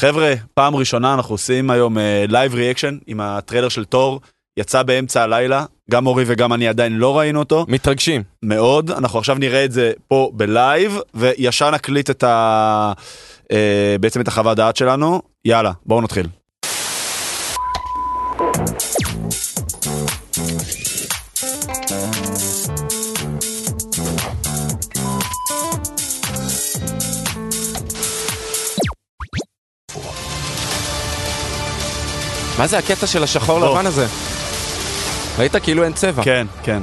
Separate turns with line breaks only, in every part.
חבר'ה, פעם ראשונה אנחנו עושים היום לייב ריאקשן עם הטריילר של תור, יצא באמצע הלילה, גם אורי וגם אני עדיין לא ראינו אותו,
מתרגשים.
מאוד, אנחנו עכשיו נראה את זה פה בלייב, וישר נקליט את ה... אה, בעצם את החוות דעת שלנו, יאללה, בואו נתחיל.
מה זה הקטע של השחור
בוא.
לבן הזה? ראית כאילו אין צבע.
לא. כן, כן.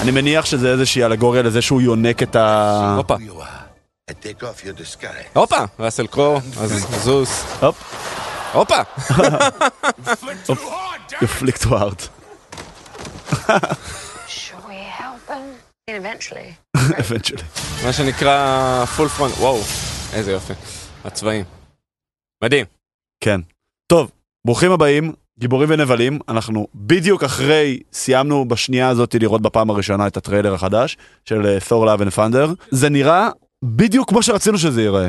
אני מניח שזה איזושהי אלגוריה לזה שהוא יונק את ה...
הופה,
you are and take off your disguise.
הופה, ראסל קרו, אז זוס,
הופ,
הופה.
יפליק טו הארט.
Shall we help him? Eventually.
הבן שלי.
מה שנקרא פול פרונט, וואו, איזה יופי. הצבעים. מדהים.
כן. טוב, ברוכים הבאים, גיבורים ונבלים. אנחנו בדיוק אחרי, סיימנו בשנייה הזאת לראות בפעם הראשונה את הטריילר החדש של אה, תור לאב אנד פאנדר. זה נראה בדיוק כמו שרצינו שזה ייראה.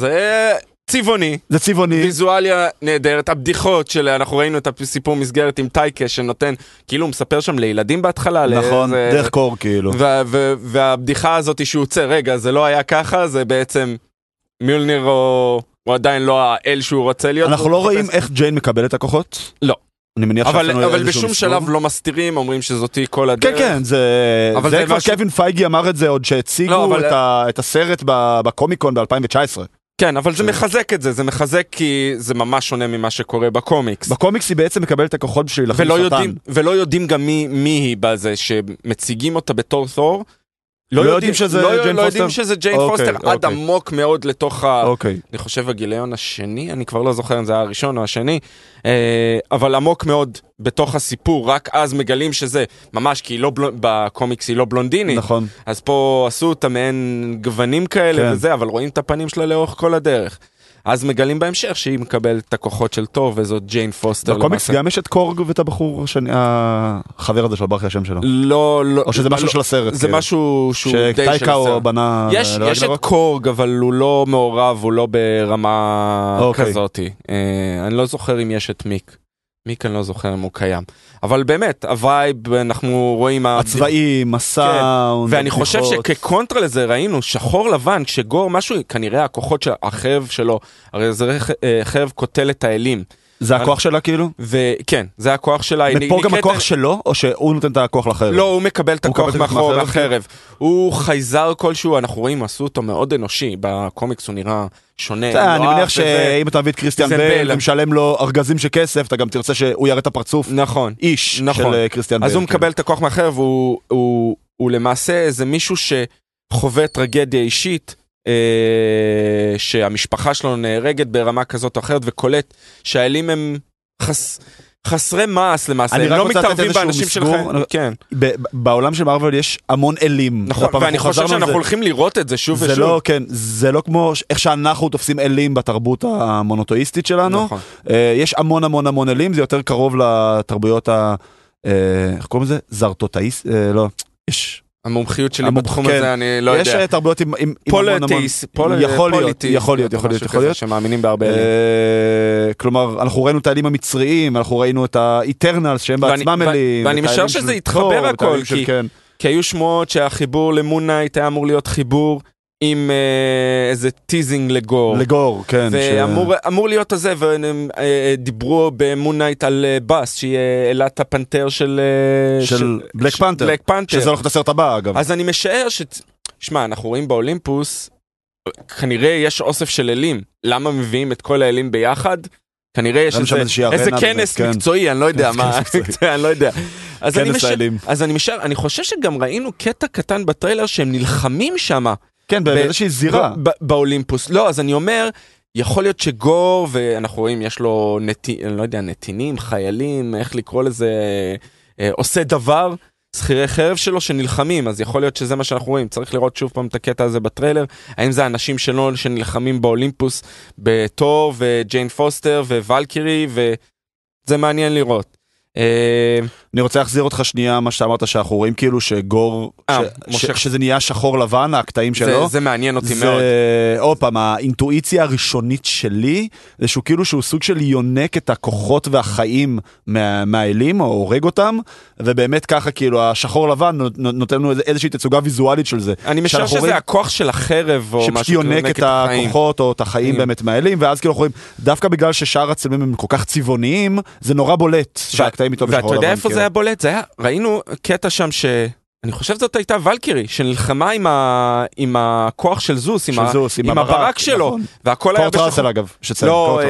זה צבעוני,
זה צבעוני,
ויזואליה נהדרת, הבדיחות של, אנחנו ראינו את הסיפור מסגרת עם טייקה שנותן, כאילו הוא מספר שם לילדים בהתחלה.
נכון,
לאיזה-
דרך קור כאילו.
וה- ו- והבדיחה הזאת שהוא יוצא, רגע, זה לא היה ככה, זה בעצם מיולניר הוא, הוא עדיין לא האל שהוא רוצה להיות.
אנחנו
הוא
לא
מחפש-
רואים איך ג'יין מקבל את הכוחות.
לא.
אני מניח
אבל,
שעשינו
אבל
איזשהו
בשום
מסלול.
שלב לא מסתירים, אומרים שזאתי כל
כן
הדרך.
כן זה
אבל
זה
זה
כבר
משהו-
קווין פייגי אמר את זה עוד
לא,
שהציגו
אבל-
את ה- את הסרט ב- בקומיקון ב2019
כן, אבל זה מחזק את זה, זה מחזק כי זה ממש שונה ממה שקורה בקומיקס.
בקומיקס היא בעצם מקבלת את הכוחות בשביל להכניס
ולא
אותן.
יודעים, ולא יודעים גם מי, מי היא בזה, שמציגים אותה בתור תור.
לא יודעים שזה
לא,
ג'יין
לא יודעים
פוסטר?
שזה ג'יין
אוקיי,
פוסטר, עד
אוקיי.
עמוק מאוד לתוך ה...
אוקיי
אני חושב הגיליון השני, אני כבר לא זוכר אם זה היה הראשון או השני, אה, אבל עמוק מאוד בתוך הסיפור, רק אז מגלים שזה ממש, כי היא לא בלונ... בקומיקס היא לא בלונדינית, נכון.
נכון
אז פה עשו אותה מעין גוונים כאלה
כן.
כן. וזה, אבל רואים את הפנים שלה לאורך כל הדרך. אז מגלים בהמשך שהיא מקבלת את הכוחות של טוב, וזאת ג'יין פוסטר
בקומיקס גם יש את קורג ואת הבחור השני החבר הזה שברח לי השם שלו
לא, לא...
או שזה משהו של הסרט
זה
כאילו.
משהו שהוא די של
שטייקה הוא
הסרט.
בנה
יש,
לא
יש את
רגנרוק?
קורג, אבל הוא לא מעורב, הוא לא ברמה
אוקיי.
כזאתי. אה, אני לא זוכר אם יש את מיק. מיק אני לא זוכר אם הוא קיים. אבל באמת, הווייב, אנחנו רואים... ה-
הצבעים הסאונד
ואני חושב
הבדיחות.
שכקונטרה לזה ראינו שחור לבן, כשגור משהו, כנראה הכוחות של החרב שלו, הרי זה רכ- אה, חרב קוטל את האלים.
זה הכוח שלה כאילו
וכן, זה הכוח שלה. היא
ופה גם
נקראת-
הכוח שלו או שהוא נותן את הכוח לחרב
לא, הוא מקבל את
הוא
הכוח
מקבל את הכוח
מאחור
מהחרב, כן.
החרב. הוא חייזר כלשהו, אנחנו רואים, עשו אותו מאוד אנושי, בקומיקס הוא נראה שונה. לא
אתה יודע, אני
מואף
מניח
וזה.
שאם אתה מביא את קריסטיאן
זה
בייל
בייל.
ומשלם לו ארגזים של כסף אתה גם תרצה שהוא יראה את הפרצוף
נכון.
איש
נכון.
של אה, קריסטיאן בייל.
אז הוא
כאילו.
מקבל את הכוח מהחרב, הוא- הוא הוא למעשה איזה מישהו שחווה טרגדיה אישית. אה, שהמשפחה שלו נהרגת ברמה כזאת או אחרת וקולט שהאלים הם חס, חסרי מעש למעשה,
אני
הם
רק
לא
רוצה לתת
מתערבים
איזשהו
באנשים
מסגור.
שלכם.
אני-
כן,
ב- ב- בעולם של מארוול יש המון אלים.
נכון,
הפעם
ואני
אנחנו
חושב
חזרנו על
שאנחנו
זה.
הולכים לראות את זה שוב ושוב.
זה לא, כן, זה לא כמו ש- איך שאנחנו תופסים אלים בתרבות המונותואיסטית שלנו.
נכון.
אה, יש המון המון המון אלים, זה יותר קרוב לתרבויות ה... אה, איך קוראים לזה? זרטוטאיסט? אה, לא. יש
המומחיות שלי
המומח-
בתחום
כן.
הזה, אני לא
יש
יודע.
אה, תרבויות עם עם- עם המון המון...
פוליטיס, פול-
יכול להיות,
פוליטיס,
יכול להיות,
או
יכול להיות,
משהו
יכול
כזה
להיות.
שמאמינים בהרבה. אלים.
אה, כלומר אנחנו ראינו את האלים המצריים אנחנו ראינו את האיטרנלס שהם
ואני-
בעצמם
ו-
אלים.
ואני
את
משער
האלים
שזה
של
יתחבר
תור, ואת
הכל,
האלים של-
כי-
כן.
כי היו שמועות שהחיבור למון נייט היה אמור להיות חיבור עם אה, איזה טיזינג לגור.
לגור כן. ש-
ואמור אמור להיות הזה, והם אה, דיברו במון נייט על אה, בס, שהיא אה, אלת הפנתר של... אה,
של בלק
של
פנתר.
בלק פנתר.
שזה הולך את הסרט הבא אגב.
אז אני משער ש... שמע, אנחנו רואים באולימפוס, כנראה יש אוסף של אלים. למה מביאים את כל האלים ביחד? כנראה יש
גם שם איזושהי
איזה, איזה
ארנה
כנס
באמת, כן.
מקצועי, אני לא יודע
כנס
מה,
מקצועי.
אני לא יודע. אז אני
כנס
משער,
האלים.
אז אני משער, אני חושב שגם ראינו קטע קטן בטריילר שהם נלחמים שם
כן באיזושהי זירה.
לא, ב- ב- באולימפוס. לא, אז אני אומר, יכול להיות שגור, ואנחנו רואים, יש לו נתי, אני לא יודע, נתינים, חיילים, איך לקרוא לזה, אה, עושה דבר, שכירי חרב שלו שנלחמים, אז יכול להיות שזה מה שאנחנו רואים. צריך לראות שוב פעם את הקטע הזה בטריילר, האם זה האנשים שלו שנלחמים באולימפוס, בתור, וג'יין פוסטר, ווולקירי, וזה מעניין לראות. אה,
אני רוצה להחזיר אותך שנייה, מה שאמרת שאנחנו רואים כאילו שגור,
אה,
ש- ש-
מושך.
שזה נהיה שחור לבן, הקטעים
זה,
שלו.
זה מעניין אותי
זה
מאוד.
עוד פעם האינטואיציה הראשונית שלי זה שהוא כאילו שהוא סוג של יונק את הכוחות והחיים מה, מהאלים או הורג אותם ובאמת ככה כאילו השחור לבן נות- נותן לנו איזה- איזושהי תצוגה ויזואלית של זה.
אני משער
שאנחנו
שזה
רואים-
הכוח של החרב או משהו.
שפשוט
כאילו,
יונק את
נגד החיים.
הכוחות או את החיים
חיים.
באמת מהאלים ואז כאילו אנחנו רואים דווקא בגלל ששאר הצילומים הם כל כך צבעוניים זה נורא בולט שהקטעים איתו בשחור לבן.
ואתה יודע איפה
כאילו.
זה היה בולט? זה היה, ראינו קטע שם ש... אני חושב זאת הייתה ולקירי, שנלחמה עם, ה... עם הכוח של זוס, עם,
של
ה...
זוס, עם
עם
הברק,
הברק שלו,
נכון.
והכל היה
קורט
בשחור.
ראסל אגב, שציין,
לא,
קורט ראסל.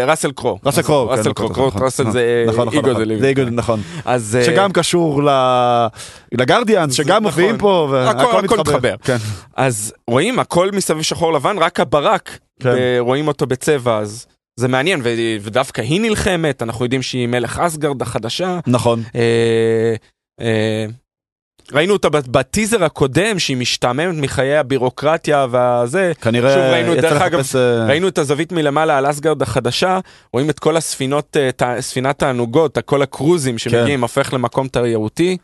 אה, ראסל קרו.
ראסל קרוב, כן,
ראסל
נכון,
קרו,
נכון,
קורט ראסל
נכון.
זה
נכון, נכון,
איגו
נכון.
זה
זה
ליבי.
איגו, נכון.
אז אה,
שגם קשור ל- לגרדיאנס,
זה
שגם
נכון.
מופיעים פה,
הכל-
והכל
הכל
מתחבר.
מתחבר.
כן.
אז רואים הכל מסביב שחור לבן, רק הברק,
כן.
אה, רואים אותו בצבע, אז זה מעניין, ו... ודווקא היא נלחמת, אנחנו יודעים שהיא מלך אסגרד החדשה.
נכון.
אה, אה, ראינו אותה בט- בטיזר הקודם שהיא משתעממת מחיי הבירוקרטיה והזה. שוב
כנראה
ראינו,
יצא
דרך אגב,
לחפש... אה,
ראינו את הזווית מלמעלה על אסגרד החדשה, רואים את כל הספינות, אה, ת- ספינת הענוגות, כל הקרוזים שמגיעים, הופך למקום תיירותי.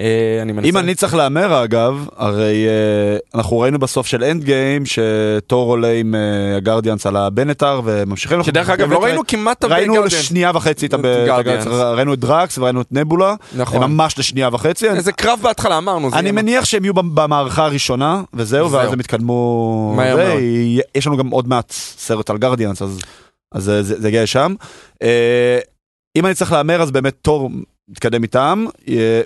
אה, אני מנסה.
כן. אם אני צריך להמר אגב, הרי אה, אנחנו ראינו בסוף של אנד גיים שתור עולה עם אה, הגרדיאנס על הבנטר וממשיכים.
שדרך אגב, לא
באמת
ראינו כמעט הרבה
ראינו
גרדיאנס.
שנייה וחצי את
את
הגרדיאנס,
הגרדיאנס.
ראינו את דרקס וראינו את נבולה,
נכון.
ממש לשנייה וחצי.
איזה קרב בהתחלה אמרנו. זה
אני
יהיה-
מניח שהם יהיו במ- במערכה הראשונה, וזהו, ואז
זהו.
הם יתקדמו...
מהר
זה,
מאוד.
י- יש לנו גם עוד מעט סרט על גרדיאנס, אז אז זה זה- זה יגיע לשם. אה, אם אני צריך להמר, אז באמת תור מתקדם איתם, אה,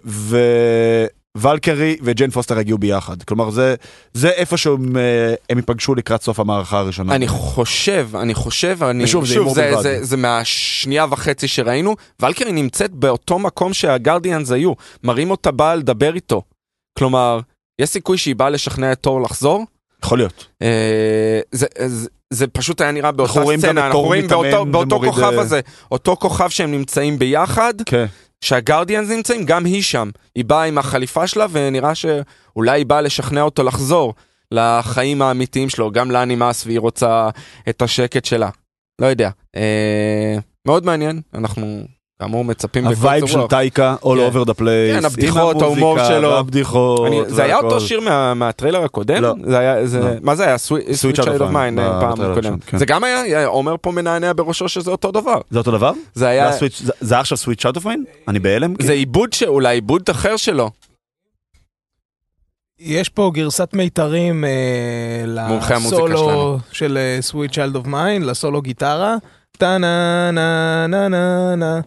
ווולקרי וג'יין פוסטר הגיעו ביחד. כלומר, זה זה איפה שהם אה, הם ייפגשו לקראת סוף המערכה הראשונה.
אני חושב, אני חושב, אני...
ושוב, זה הימור
זה,
בלבד.
זה, זה מהשנייה וחצי שראינו. ולקרי נמצאת באותו מקום שהגרדיאנס היו. מראים אותה באה לדבר איתו. כלומר, יש סיכוי שהיא באה לשכנע את תור לחזור?
יכול להיות.
אה, זה, זה, זה פשוט היה נראה באותה
אנחנו רואים גם את
סצנה, אנחנו
תור
רואים
מתאמן
באותו, באותו
ומוריד,
כוכב
אה,
הזה, אותו כוכב שהם נמצאים ביחד,
כן.
שהגרדיאנס נמצאים, גם היא שם. היא באה עם החליפה שלה, ונראה שאולי היא באה לשכנע אותו לחזור לחיים האמיתיים שלו. גם לה נמאס והיא רוצה את השקט שלה. לא יודע. אה, מאוד מעניין, אנחנו כאמור מצפים בקוצר
הווייב של
רוח.
טייקה, all
כן.
over the place.
כן, הבדיחות, ההומור שלו.
הבדיחות,
אני, זה היה אותו
והכל.
שיר מה, מהטריילר הקודם?
לא.
זה היה, זה,
לא.
מה זה היה? סוויט
Sweet Child
שייד
of
אוף
Mine,
מיין
ב-
פעם
בטריילר
הקודם.
הראשון, כן.
זה גם היה, היה, עומר פה מנענע בראשו שזה אותו דבר.
זה אותו דבר?
זה
זה
היה,
הסוויט- זה- זה היה עכשיו סוויט שאט אוף מיין? אני בהלם? כאילו.
זה עיבוד, ש- אולי עיבוד אחר שלו.
יש פה גרסת מיתרים אה,
מומחי המוזיקה
לסולו של אה, סוויט צ'יילד אוף מיין, לסולו גיטרה. טה נה נה נה נה נה.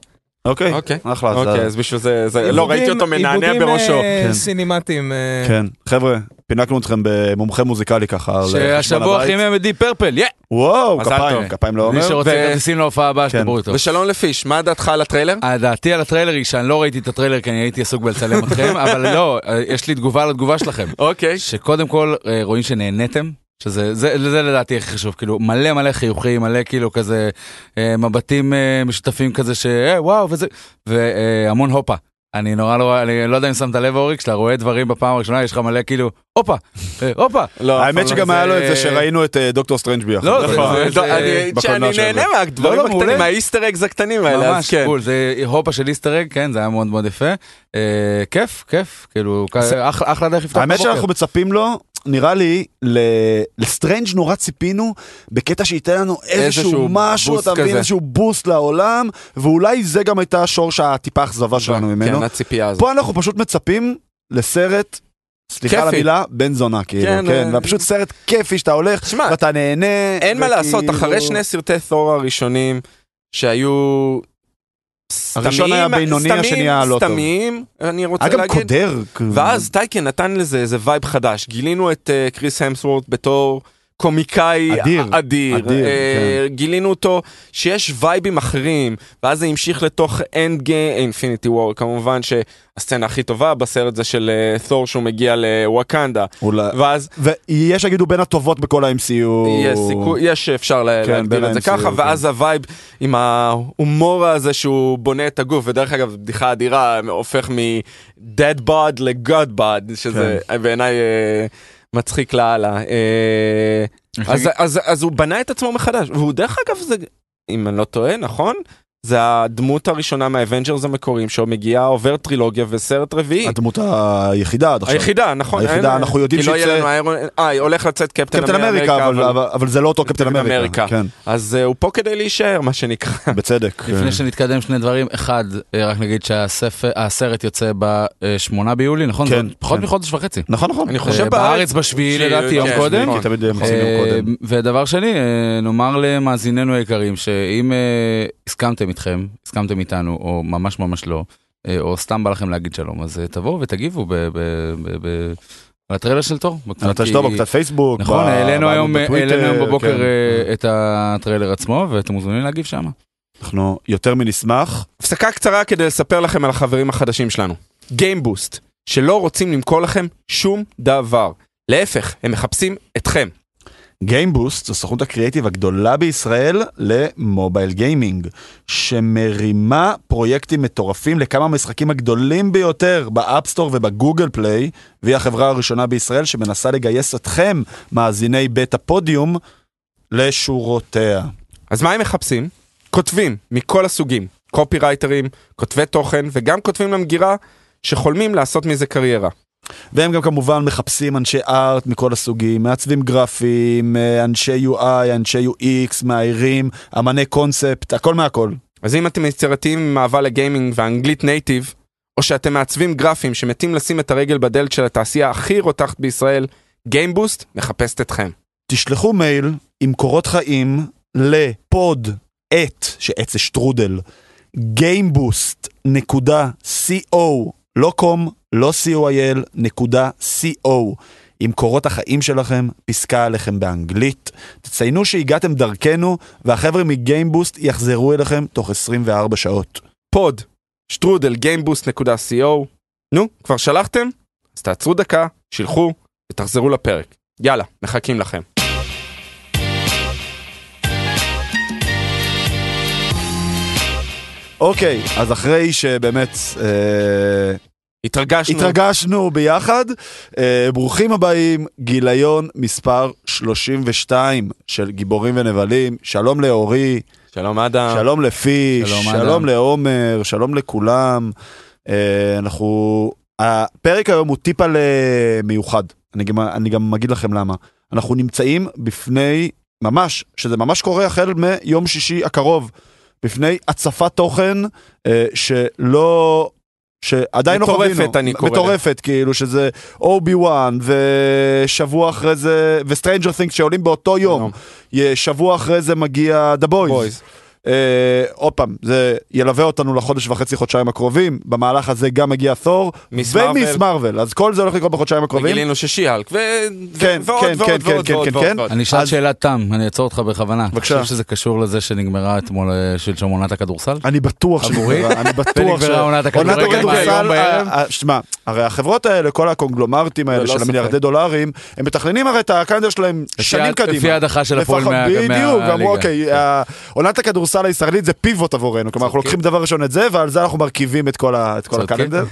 אוקיי,
אוקיי.
אחלה. זה-
אוקיי, אז בשביל זה, זה לא
עיבודים-
ראיתי אותו מנענע
עיבודים,
בראשו.
אה,
כן.
סינימטיים. אה,
כן, חבר'ה, פינקנו אתכם במומחה מוזיקלי ככה. על חשבון
שהשבוע
הבית.
הכי מהם די פרפל, יא!
וואו,
מזל
כפיים,
טוב.
כפיים לעומר.
מי שרוצה
ו-
כרטיסים להופעה הבאה,
כן.
שתדברו איתו.
ושלום לפיש, מה דעתך על הטריילר?
אה, דעתי על הטריילר היא שאני לא ראיתי את הטריילר כי אני הייתי עסוק בלצלם אתכם, אבל לא, אה, יש לי תגובה על התגובה שלכם.
אוקיי.
שקודם כל אה, רואים שנהניתם. שזה זה, זה לדעתי הכי חשוב כאילו מלא מלא חיוכים מלא כאילו כזה אה, מבטים אה, משותפים כזה שוואו וזה והמון הופה אני נורא לא אני לא יודע אם שמת לב אורי כשאתה רואה דברים בפעם הראשונה יש לך מלא כאילו הופה אה, הופה
לא,
האמת
אף
שגם
פעם לא.
היה לו את זה
זה-
שראינו את אה, דוקטור סטרנג' ביחד.
לא,
נכון.
זה-
לא,
זה-
אני-
בקולנוע
שאני
של
נהנה
זה.
מהדברים
לא, לא,
הקטנים,
מעולה.
מהאיסטר אגז הקטנים האלה, אז
ממש
כן.
בול זה הופה של איסטר אג כן זה היה מאוד מאוד יפה אה, כיף כיף כאילו כ- אחלה אחלה דרך לפתוח את
האמת
הבוקר.
שאנחנו מצפים לו, נראה לי, ל- לסטרנג' נורא ציפינו, בקטע שייתן לנו איזשהו
איזשהו
משהו,
בוסט
אתה מבין,
כזה.
איזשהו בוסט לעולם, ואולי זה גם הייתה שורש הטיפה אכזבה שלנו ממנו.
כן, הציפייה הזאת.
פה אנחנו פשוט מצפים לסרט, סליחה על
כיפי.
המילה, בן זונה, כאילו,
כן,
כן,
אה.
ופשוט סרט כיפי שאתה הולך,
שמע,
ואתה נהנה.
אין מה לעשות,
וכאילו-
אחרי שני סרטי תור הראשונים שהיו...
הראשון
סתמיים-
היה בינוני,
סתמיים-
השני היה לא טוב.
סתמיים, אני רוצה
אגב,
להגיד.
קודר.
ואז טייקן נתן לזה איזה וייב חדש. גילינו את אה, קריס המסוורט בתור קומיקאי
אדיר,
אדיר.
אדיר, כן.
אה, גילינו אותו שיש וייבים אחרים, ואז זה המשיך לתוך אנד גיים, אינפיניטי וור, כמובן שהסצנה הכי טובה בסרט זה של אה, תור שהוא מגיע לווקנדה.
אולי-
ואז
ויש שיגידו בין הטובות בכל ה-MCU.
יש סיכוי, יש אפשר לה-
כן, בין
להגדיר את זה
ה-MCU,
ככה,
כן.
ואז הווייב עם ההומור הזה שהוא בונה את הגוף, ודרך אגב, בדיחה אדירה, הופך מ-dead bod ל-god bod, שזה
כן.
בעיניי אה, מצחיק לאללה. אה, אז- אז- אז הוא בנה את עצמו מחדש, והוא דרך אגב, זה, אם אני לא טועה, נכון? זה הדמות הראשונה מהאבנג'רס המקוריים שמגיעה עובר טרילוגיה וסרט רביעי.
הדמות היחידה עד עכשיו.
היחידה נכון.
היחידה,
אין-
אנחנו יודעים
כי לא יהיה
שיצא-
לנו איירון, אה הולך לצאת קפטן,
קפטן אמריקה, אבל- אבל- אבל זה לא אותו קפטן
קפטן
אמריקה.
אמריקה.
כן,
אז אה, הוא פה כדי להישאר מה שנקרא.
בצדק. כן.
לפני שנתקדם שני דברים, אחד, אה, רק נגיד שהסרט יוצא ב-8 ביולי, נכון?
כן,
זה פחות
כן.
מחודש וחצי.
נכון, נכון.
אני חושב
אה, בארץ בשביעי
ש-
לדעתי יום
כן,
קודם.
כי תמיד הם עושים
אה,
יום נכון, קודם.
ודבר שני, אה, נאמר למאזיננו היקרים, שאם אה, הסכמתם איתכם, הסכמתם איתנו, או ממש ממש לא, אה, או סתם בא לכם להגיד שלום, אז אה, תבואו ותגיבו ב- ב- ב- ב- על הטריילר של תור.
אה,
על
כי-
התשתו, בקצת לא פייסבוק.
נכון,
ב-
העלינו
בעמוד
היום אה,
בטוויטר,
העלינו היום בבוקר
כן.
אה, את הטריילר עצמו, ואתם מוזמנים להגיב שם.
אנחנו יותר מנשמח.
הפסקה קצרה כדי לספר לכם על החברים החדשים שלנו. גיימבוסט, שלא רוצים למכור לכם שום דבר. להפך, הם מחפשים אתכם.
גיימבוסט זו סוכנות הקריאיטיב הגדולה בישראל למובייל גיימינג, שמרימה פרויקטים מטורפים לכמה המשחקים הגדולים ביותר באפסטור ובגוגל פליי, והיא החברה הראשונה בישראל שמנסה לגייס אתכם, מאזיני בית הפודיום, לשורותיה.
אז מה הם מחפשים? כותבים מכל הסוגים, קופי רייטרים, כותבי תוכן, וגם כותבים למגירה שחולמים לעשות מזה קריירה.
והם גם כמובן מחפשים אנשי ארט מכל הסוגים, מעצבים גרפיים, אנשי UI, אנשי UX, מאיירים, אמני קונספט, הכל מהכל.
אז אם אתם יצירתיים עם אהבה לגיימינג ואנגלית נייטיב, או שאתם מעצבים גרפים שמתים לשים את הרגל בדלת של התעשייה הכי רותחת בישראל, גיימבוסט מחפשת אתכם.
תשלחו מייל עם קורות חיים לפוד את, שעץ זה שטרודל, gameboost.co, לא קום, לא co.il, נקודה co. עם קורות החיים שלכם, פסקה עליכם באנגלית. תציינו שהגעתם דרכנו, והחבר'ה מגיימבוסט יחזרו אליכם תוך 24 שעות.
פוד, שטרודל גיימבוסט.co. נו, כבר שלחתם? אז תעצרו דקה, שילחו ותחזרו לפרק. יאללה, מחכים לכם.
אוקיי, אז אחרי שבאמת אה,
התרגשנו.
התרגשנו ביחד. אה, ברוכים הבאים, גיליון מספר 32 של גיבורים ונבלים. שלום לאורי,
שלום אדם.
שלום לפיש,
שלום,
שלום
אדם.
לעומר, שלום לכולם. אה, אנחנו... הפרק היום הוא טיפה למיוחד. אני גם, אני גם אגיד לכם למה. אנחנו נמצאים בפני, ממש, שזה ממש קורה החל מיום שישי הקרוב, בפני הצפת תוכן אה, שלא... שעדיין לא
מטורפת,
חווינו.
אני קורא לה.
מטורפת, כאילו שזה אובי וואן, ושבוע אחרי זה, וסטרנג'ר תינקס שעולים באותו יום. יה- שבוע אחרי זה מגיע The Boys.
בויז.
אה, עוד פעם, זה ילווה אותנו לחודש וחצי, חודשיים הקרובים, במהלך הזה גם מגיע תור,
מיס
ומיס
מארוול.
מרוויל, אז כל זה הולך לקרות בחודשיים הקרובים.
גילינו ששיהלק, ו...
כן,
ועוד
כן,
ועוד
כן, כן,
ועוד
כן,
ועוד
כן,
ועוד
כן.
ועוד.
אני אשאל
אז-
שאלת תם, אני אעצור אותך בכוונה.
בבקשה.
אתה חושב שזה קשור לזה שנגמרה אתמול אה, שלשום עונת הכדורסל?
אני בטוח
עבורי?
שנגמרה, אני בטוח
ונגמרה עונת הכדורגל, מה, היום בערב?
אה, אה, שמע, הרי החברות האלה, כל הקונגלומרטים האלה
לא
של
ספק.
המיליארדי דולרים, הם מתכננים הרי את הקלנדר שלהם שנים
לפי ה-
קדימה.
לפי ההדחה של הפועל
לפחות-
מה-
בדיוק, אמרו
מהליגה. כן.
אוקיי, ה- עונת הכדורסל הישראלית זה פיבוט עבורנו, כלומר אנחנו
צודקים.
לוקחים דבר ראשון את זה, ועל זה אנחנו מרכיבים את כל ה- את כל
צודקים.
הקלנדר.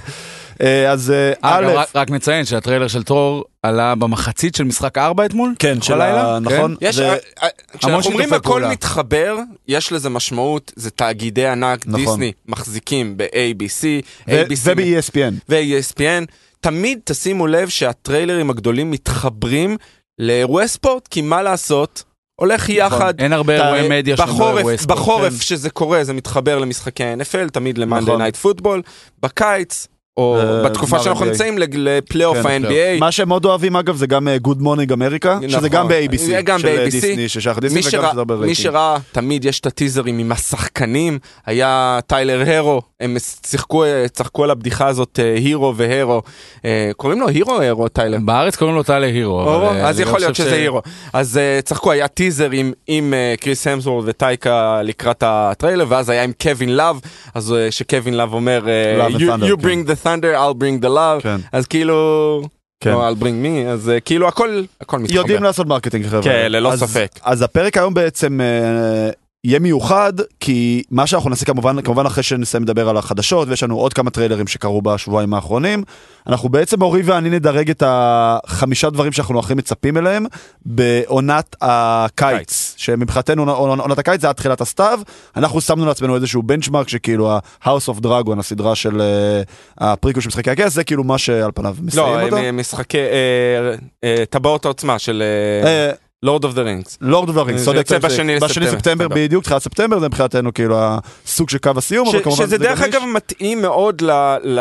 אה, אז אה,
אה,
א',
גם רק- רק נציין שהטריילר של טרור עלה במחצית של משחק 4 אתמול?
כן, של
הלילה?
ה... נכון.
יש,
זה-
אה, אה, כשאנחנו
שיתופי
אומרים הכל
פעולה.
מתחבר, יש לזה משמעות, זה תאגידי ענק,
נכון.
דיסני מחזיקים ב-ABC,
ו-
ABC
וב-ESPN.
ו-ESPN, תמיד תשימו לב שהטריילרים הגדולים מתחברים לאירועי ספורט, כי מה לעשות, הולך
נכון.
יחד. אה,
אין הרבה
אתה-
אירועי מדיה שהם לא אירועי
בחורף,
ספורט.
בחורף שזה קורה, זה מתחבר למשחקי ה-NFL, תמיד ל-Monday
כן. נכון.
Night Football, בקיץ, או
אה,
בתקופה
גמר
שאנחנו
NBA.
נמצאים לג- לפלייאוף
כן,
ה-NBA.
מה שהם עוד אוהבים אגב זה גם אה, Good Morning אמריקה, שזה
נכון.
גם ב-ABC,
זה גם
של
ב-ABC.
דיסני, ששייך דיסני
מי
וגם
שראה-
שזה
מי
ברייטינג.
שראה, תמיד יש את הטיזרים עם השחקנים, היה טיילר הרו, הם שיחקו, אה, צחקו על הבדיחה הזאת, אה, הירו והרו, אה, קוראים לו הירו או הרו טיילר?
בארץ קוראים לו טלי הירו.
לא,
אורו,
אבל, אה,
אז
אני
יכול להיות
חושב
שזה
ש-
הירו. אז אה, צחקו, היה טיזר עם- עם אה, קריס המסוורד וטייקה לקראת הטריילר, ואז היה עם קווין לאב, אז אה, שקווין לאב אומר, אה,
Love and
"You-
Thunder",
you
כן.
bring the thunder, I'll bring the love,
כן.
אז כאילו,
כן.
לא, I'll bring me, אז אה, כאילו הכל הכל מתחבר.
יודעים לעשות מרקטינג חבר'ה.
כן, ללא
אז-
ספק.
אז הפרק היום בעצם אה, יהיה מיוחד, כי מה שאנחנו נעשה כמובן, כמובן אחרי שנסיים לדבר על החדשות, ויש לנו עוד כמה טריילרים שקרו בשבועיים האחרונים, אנחנו בעצם, אורי ואני נדרג את החמישה דברים שאנחנו הכי מצפים אליהם בעונת הקיץ, שמבחינתנו עונת, עונת הקיץ זה עד תחילת הסתיו, אנחנו שמנו לעצמנו איזשהו בנצ'מארק שכאילו ה-house of dragon, הסדרה של אה, הפריקו של משחקי הכס, זה כאילו מה שעל פניו
לא,
מסיים אותה.
אה, משחקי אה, אה, טבעות העוצמה של
אה,
לורד אוף דה רינגס.
לורד אוף הרינגס,
אה, זה
צודק,
יוצא
צודק.
בשני
בשני
לספטמבר.
ספטמבר,
סבבה.
בדיוק, תחילת ספטמבר זה מבחינתנו כאילו הסוג של קו הסיום, אבל כמובן
שזה
זה גם
דרך
יש.
אגב מתאים מאוד ל, ל,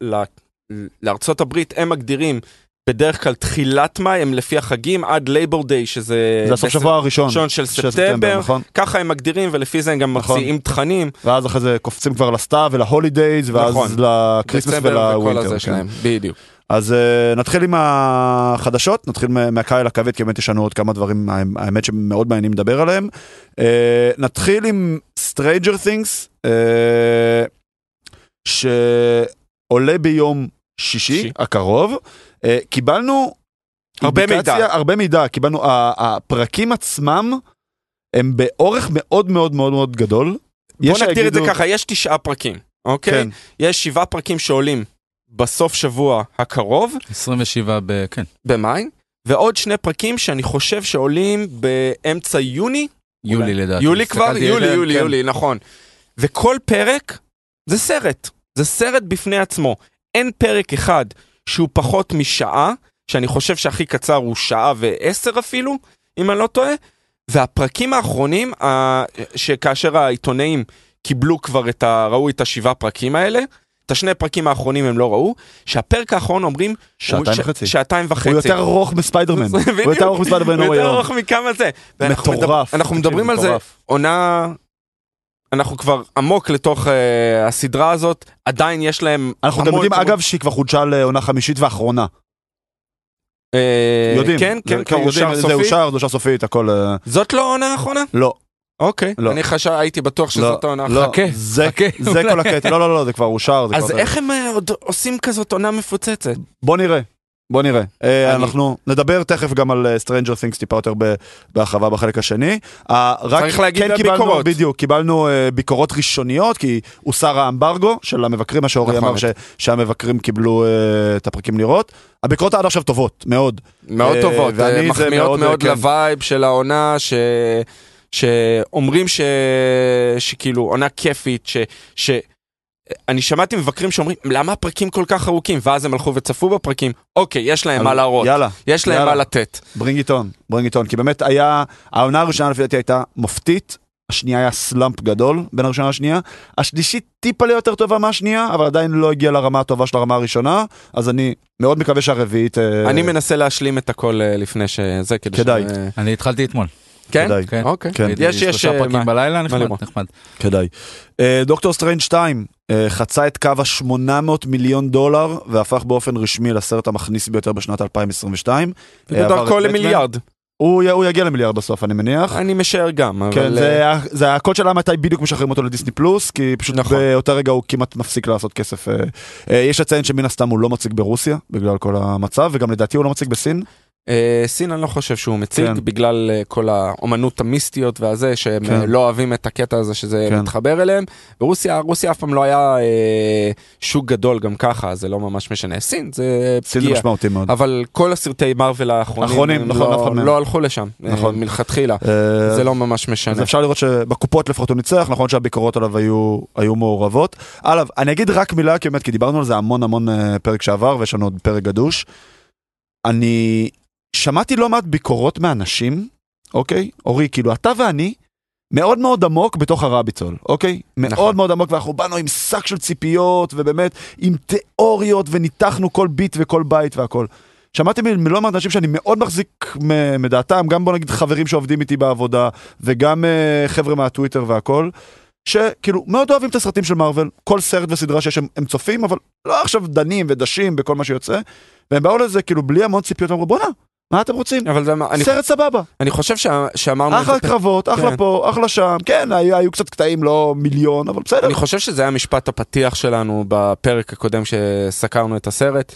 ל, לארצות הברית, הם מגדירים בדרך כלל תחילת מאי, הם לפי החגים עד לייבור דיי, שזה...
זה הסוף
בעצם-
שבוע הראשון
אה, ראשון של
של
ספטמבר,
נכון?
ככה הם מגדירים ולפי זה הם גם
נכון.
מוציאים תכנים.
ואז אחרי זה קופצים כבר לסתיו ולהולידייז,
נכון.
ואז לקריסמס
דצמבר וכל
ולווינטר.
הזה
כן.
שלהם, בדיוק.
אז אה, נתחיל עם החדשות, נתחיל מה- מהקהל הכבד, כי באמת יש לנו עוד כמה דברים, הא- האמת שמאוד מעניינים לדבר עליהם. אה, נתחיל עם Stranger Things, אה, שעולה ביום שישי
שי.
הקרוב. אה, קיבלנו
הרבה
אינדיקציה-
מידע.
הרבה מידע, קיבלנו, ה- הפרקים עצמם הם באורך מאוד מאוד מאוד מאוד גדול.
בוא
יש
נגדיר את זה
שיגידו-
ככה, יש תשעה פרקים, אוקיי?
כן,
יש שבעה פרקים שעולים בסוף שבוע הקרוב,
27 ב... כן.
במאי, ועוד שני פרקים שאני חושב שעולים באמצע יוני,
אוקיי.
יולי לדעתי.
יולי כבר?
הסתכלתי,
יולי,
כן,
יולי,
כן.
יולי, נכון. וכל פרק זה סרט. זה סרט בפני עצמו. אין פרק אחד שהוא פחות משעה, שאני חושב שהכי קצר הוא שעה ועשר אפילו, אם אני לא טועה. והפרקים האחרונים, ה- שכאשר העיתונאים קיבלו כבר את ה... ראו את השבעה פרקים האלה, את השני פרקים האחרונים הם לא ראו, שהפרק האחרון אומרים...
שעתיים
ש-
וחצי.
שעתיים וחצי.
הוא יותר ארוך מספיידרמן,
זה
הוא
בדיוק.
יותר ארוך מספיידרמן
הוא
הוא
יותר
היום.
ארוך מכמה זה. ואנחנו מדבר-
מטורף.
אנחנו
תקשיב,
מדברים על זה
מטורף.
עונה... אנחנו כבר עמוק לתוך אה, הסדרה הזאת, עדיין יש להם
אנחנו גם
המון-
יודעים אגב שהיא כבר חודשה לעונה חמישית ואחרונה.
אה,
יודעים.
כן, כן,
זה-
כבר
יודעים,
אושר
זה
סופית.
אושר, זה אושר סופית, הכל... אה,
זאת לא העונה האחרונה?
לא.
אוקיי.
לא.
אני חשב, הייתי בטוח
לא,
שזאת העונה
לא,
האחרונה.
חכה,
זה-
חכה,
זה
אולי.
כל הקטע, לא, לא, לא, זה כבר אושר. זה
אז
כבר-
איך הם אה, עוד עושים כזאת עונה מפוצצת?
בוא נראה. בוא נראה. אה,
אני-
אנחנו נדבר תכף גם על אה, Stranger Things טיפה יותר ב- בהרחבה בחלק השני. אה, רק
צריך להגיד
כן
על
קיבלנו-
ביקורות.
בדיוק, קיבלנו אה, ביקורות ראשוניות, כי הוסר האמברגו של המבקרים, מה שאורי
נכון.
אמר ש- שהמבקרים קיבלו אה, את הפרקים לראות. הביקורות עד עכשיו טובות, מאוד.
מאוד
אה,
טובות,
ואני
אה,
זה מאוד,
מחמיאות מאוד
כן.
לווייב של העונה, ש... שאומרים ש... שכאילו עונה כיפית, ש... ש... אני שמעתי מבקרים שאומרים למה הפרקים כל כך ארוכים ואז הם הלכו וצפו בפרקים אוקיי יש להם מה להראות
יאללה.
יש להם
יאללה.
מה לתת
ברינג איטון, ברינג איטון, כי באמת היה, העונה הראשונה לפי דעתי הייתה מופתית, השנייה היה סלאמפ גדול בין הראשונה לשנייה, השלישית טיפה לי יותר טובה מהשנייה, אבל עדיין לא הגיעה לרמה הטובה של הרמה הראשונה, אז אני מאוד מקווה שהרביעית... אה,
אני מנסה להשלים את הכל אה, לפני שזה כדי
כדאי.
ש...
אני התחלתי אתמול.
כן
כדאי,
כן.
אוקיי
כן.
ראיתי
יש- יש,
שלושה
אה,
פרקים
מה-
בלילה, נחמד,
לראות.
נחמד.
כדאי. אה, דוקטור סטרנג' 2 אה, חצה את קו ה-800 מיליון דולר, והפך באופן רשמי לסרט המכניס ביותר בשנת 2022. אה, עבר את
בדרכו
בטמן.
למיליארד
הוא י- הוא יגיע למיליארד בסוף, אני מניח.
אני משער גם
כן,
אבל
זה
אה,
היה- זה הקוד שלה מתי בדיוק משחררים אותו לדיסני פלוס, כי פשוט
נכון.
באותה רגע הוא כמעט מפסיק לעשות כסף. אה, אה, יש לציין שמן הסתם הוא לא מציג ברוסיה, בגלל כל המצב, וגם לדעתי הוא לא מציג בסין.
אה, סין אני לא חושב שהוא מציג
כן.
בגלל אה, כל האומנות המיסטיות והזה שהם
כן.
אה, לא אוהבים את הקטע הזה שזה
כן.
מתחבר אליהם. ברוסיה רוסיה אף פעם לא היה אה, שוק גדול גם ככה אז זה לא ממש משנה סין זה
סין זה
פגיעה.
משמעותי מאוד.
אבל כל הסרטי מרוויל האחרונים
האחרונים,
הם
נכון, אף אחד
לא,
מהם.
לא הלכו לשם אה,
נכון.
מלכתחילה
אה,
זה לא ממש משנה.
אז אפשר לראות שבקופות לפחות הוא ניצח, נכון שהביקורות עליו היו, היו מעורבות. עליו, אני אגיד רק מילה, כי באמת, כי דיברנו על זה המון המון אה, פרק שעבר, ויש לנו עוד פרק גדוש. אני שמעתי לא מעט ביקורות מאנשים, אוקיי? אורי, כאילו, אתה ואני מאוד מאוד עמוק בתוך הרביטול, אוקיי? מאוד
נכון.
מאוד עמוק, ואנחנו באנו עם שק של ציפיות, ובאמת, עם תיאוריות, וניתחנו כל ביט וכל בית והכל. שמעתי מ- מלא מעט אנשים שאני מאוד מחזיק מ- מדעתם, גם בוא נגיד חברים שעובדים איתי בעבודה, וגם אה, חבר'ה מהטוויטר והכל, שכאילו מאוד אוהבים את הסרטים של מארוול, כל סרט וסדרה שיש הם, הם צופים, אבל לא עכשיו דנים ודשים בכל מה שיוצא, והם באו לזה כאילו בלי המון ציפיות, אמרו בואנה, מה אתם רוצים?
אבל זה, מה- אני,
סרט סבבה,
אני חושב שה- שאמרנו את
אחלה
זה
קרבות, אחלה
כן.
פה, אחלה שם, כן, היו, היו קצת קטעים לא מיליון, אבל בסדר.
אני חושב שזה היה משפט הפתיח שלנו בפרק הקודם שסקרנו את הסרט.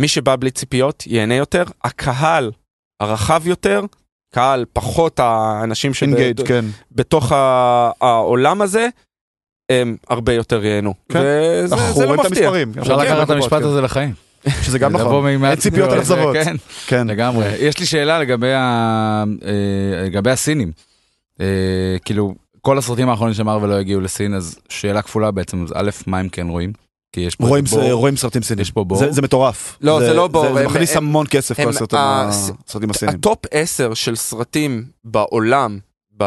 מי שבא בלי ציפיות ייהנה יותר, הקהל הרחב יותר הקהל, פחות האנשים
אינגייד, כן.
שבתוך ה- העולם הזה, הם הרבה יותר ייהנו.
כן.
וזה
אנחנו
זה לא
רואים את
מפתיע.
המספרים.
אפשר לקחת את
כן.
המשפט הזה לחיים.
שזה כן, גם נכון.
לבוא מ-
אין ציפיות
זה-
לאכזבות.
כן,
כן.
לגמרי. יש לי שאלה לגבי ה- אה, לגבי הסינים. אה, כאילו, כל הסרטים האחרונים של מארוול לא הגיעו לסין, אז שאלה כפולה בעצם, אז א', מה הם כן רואים? כי יש פה...
רואים
את בור.
רואים סרטים סינים.
יש פה בור.
זה- זה מטורף.
לא, זה לא בור,
זה
הם-
מכניס
הם-
המון כסף כל
הם-
הסרטים ה-
הס-
הסרטים הסינים.
הטופ 10 של סרטים בעולם, ב...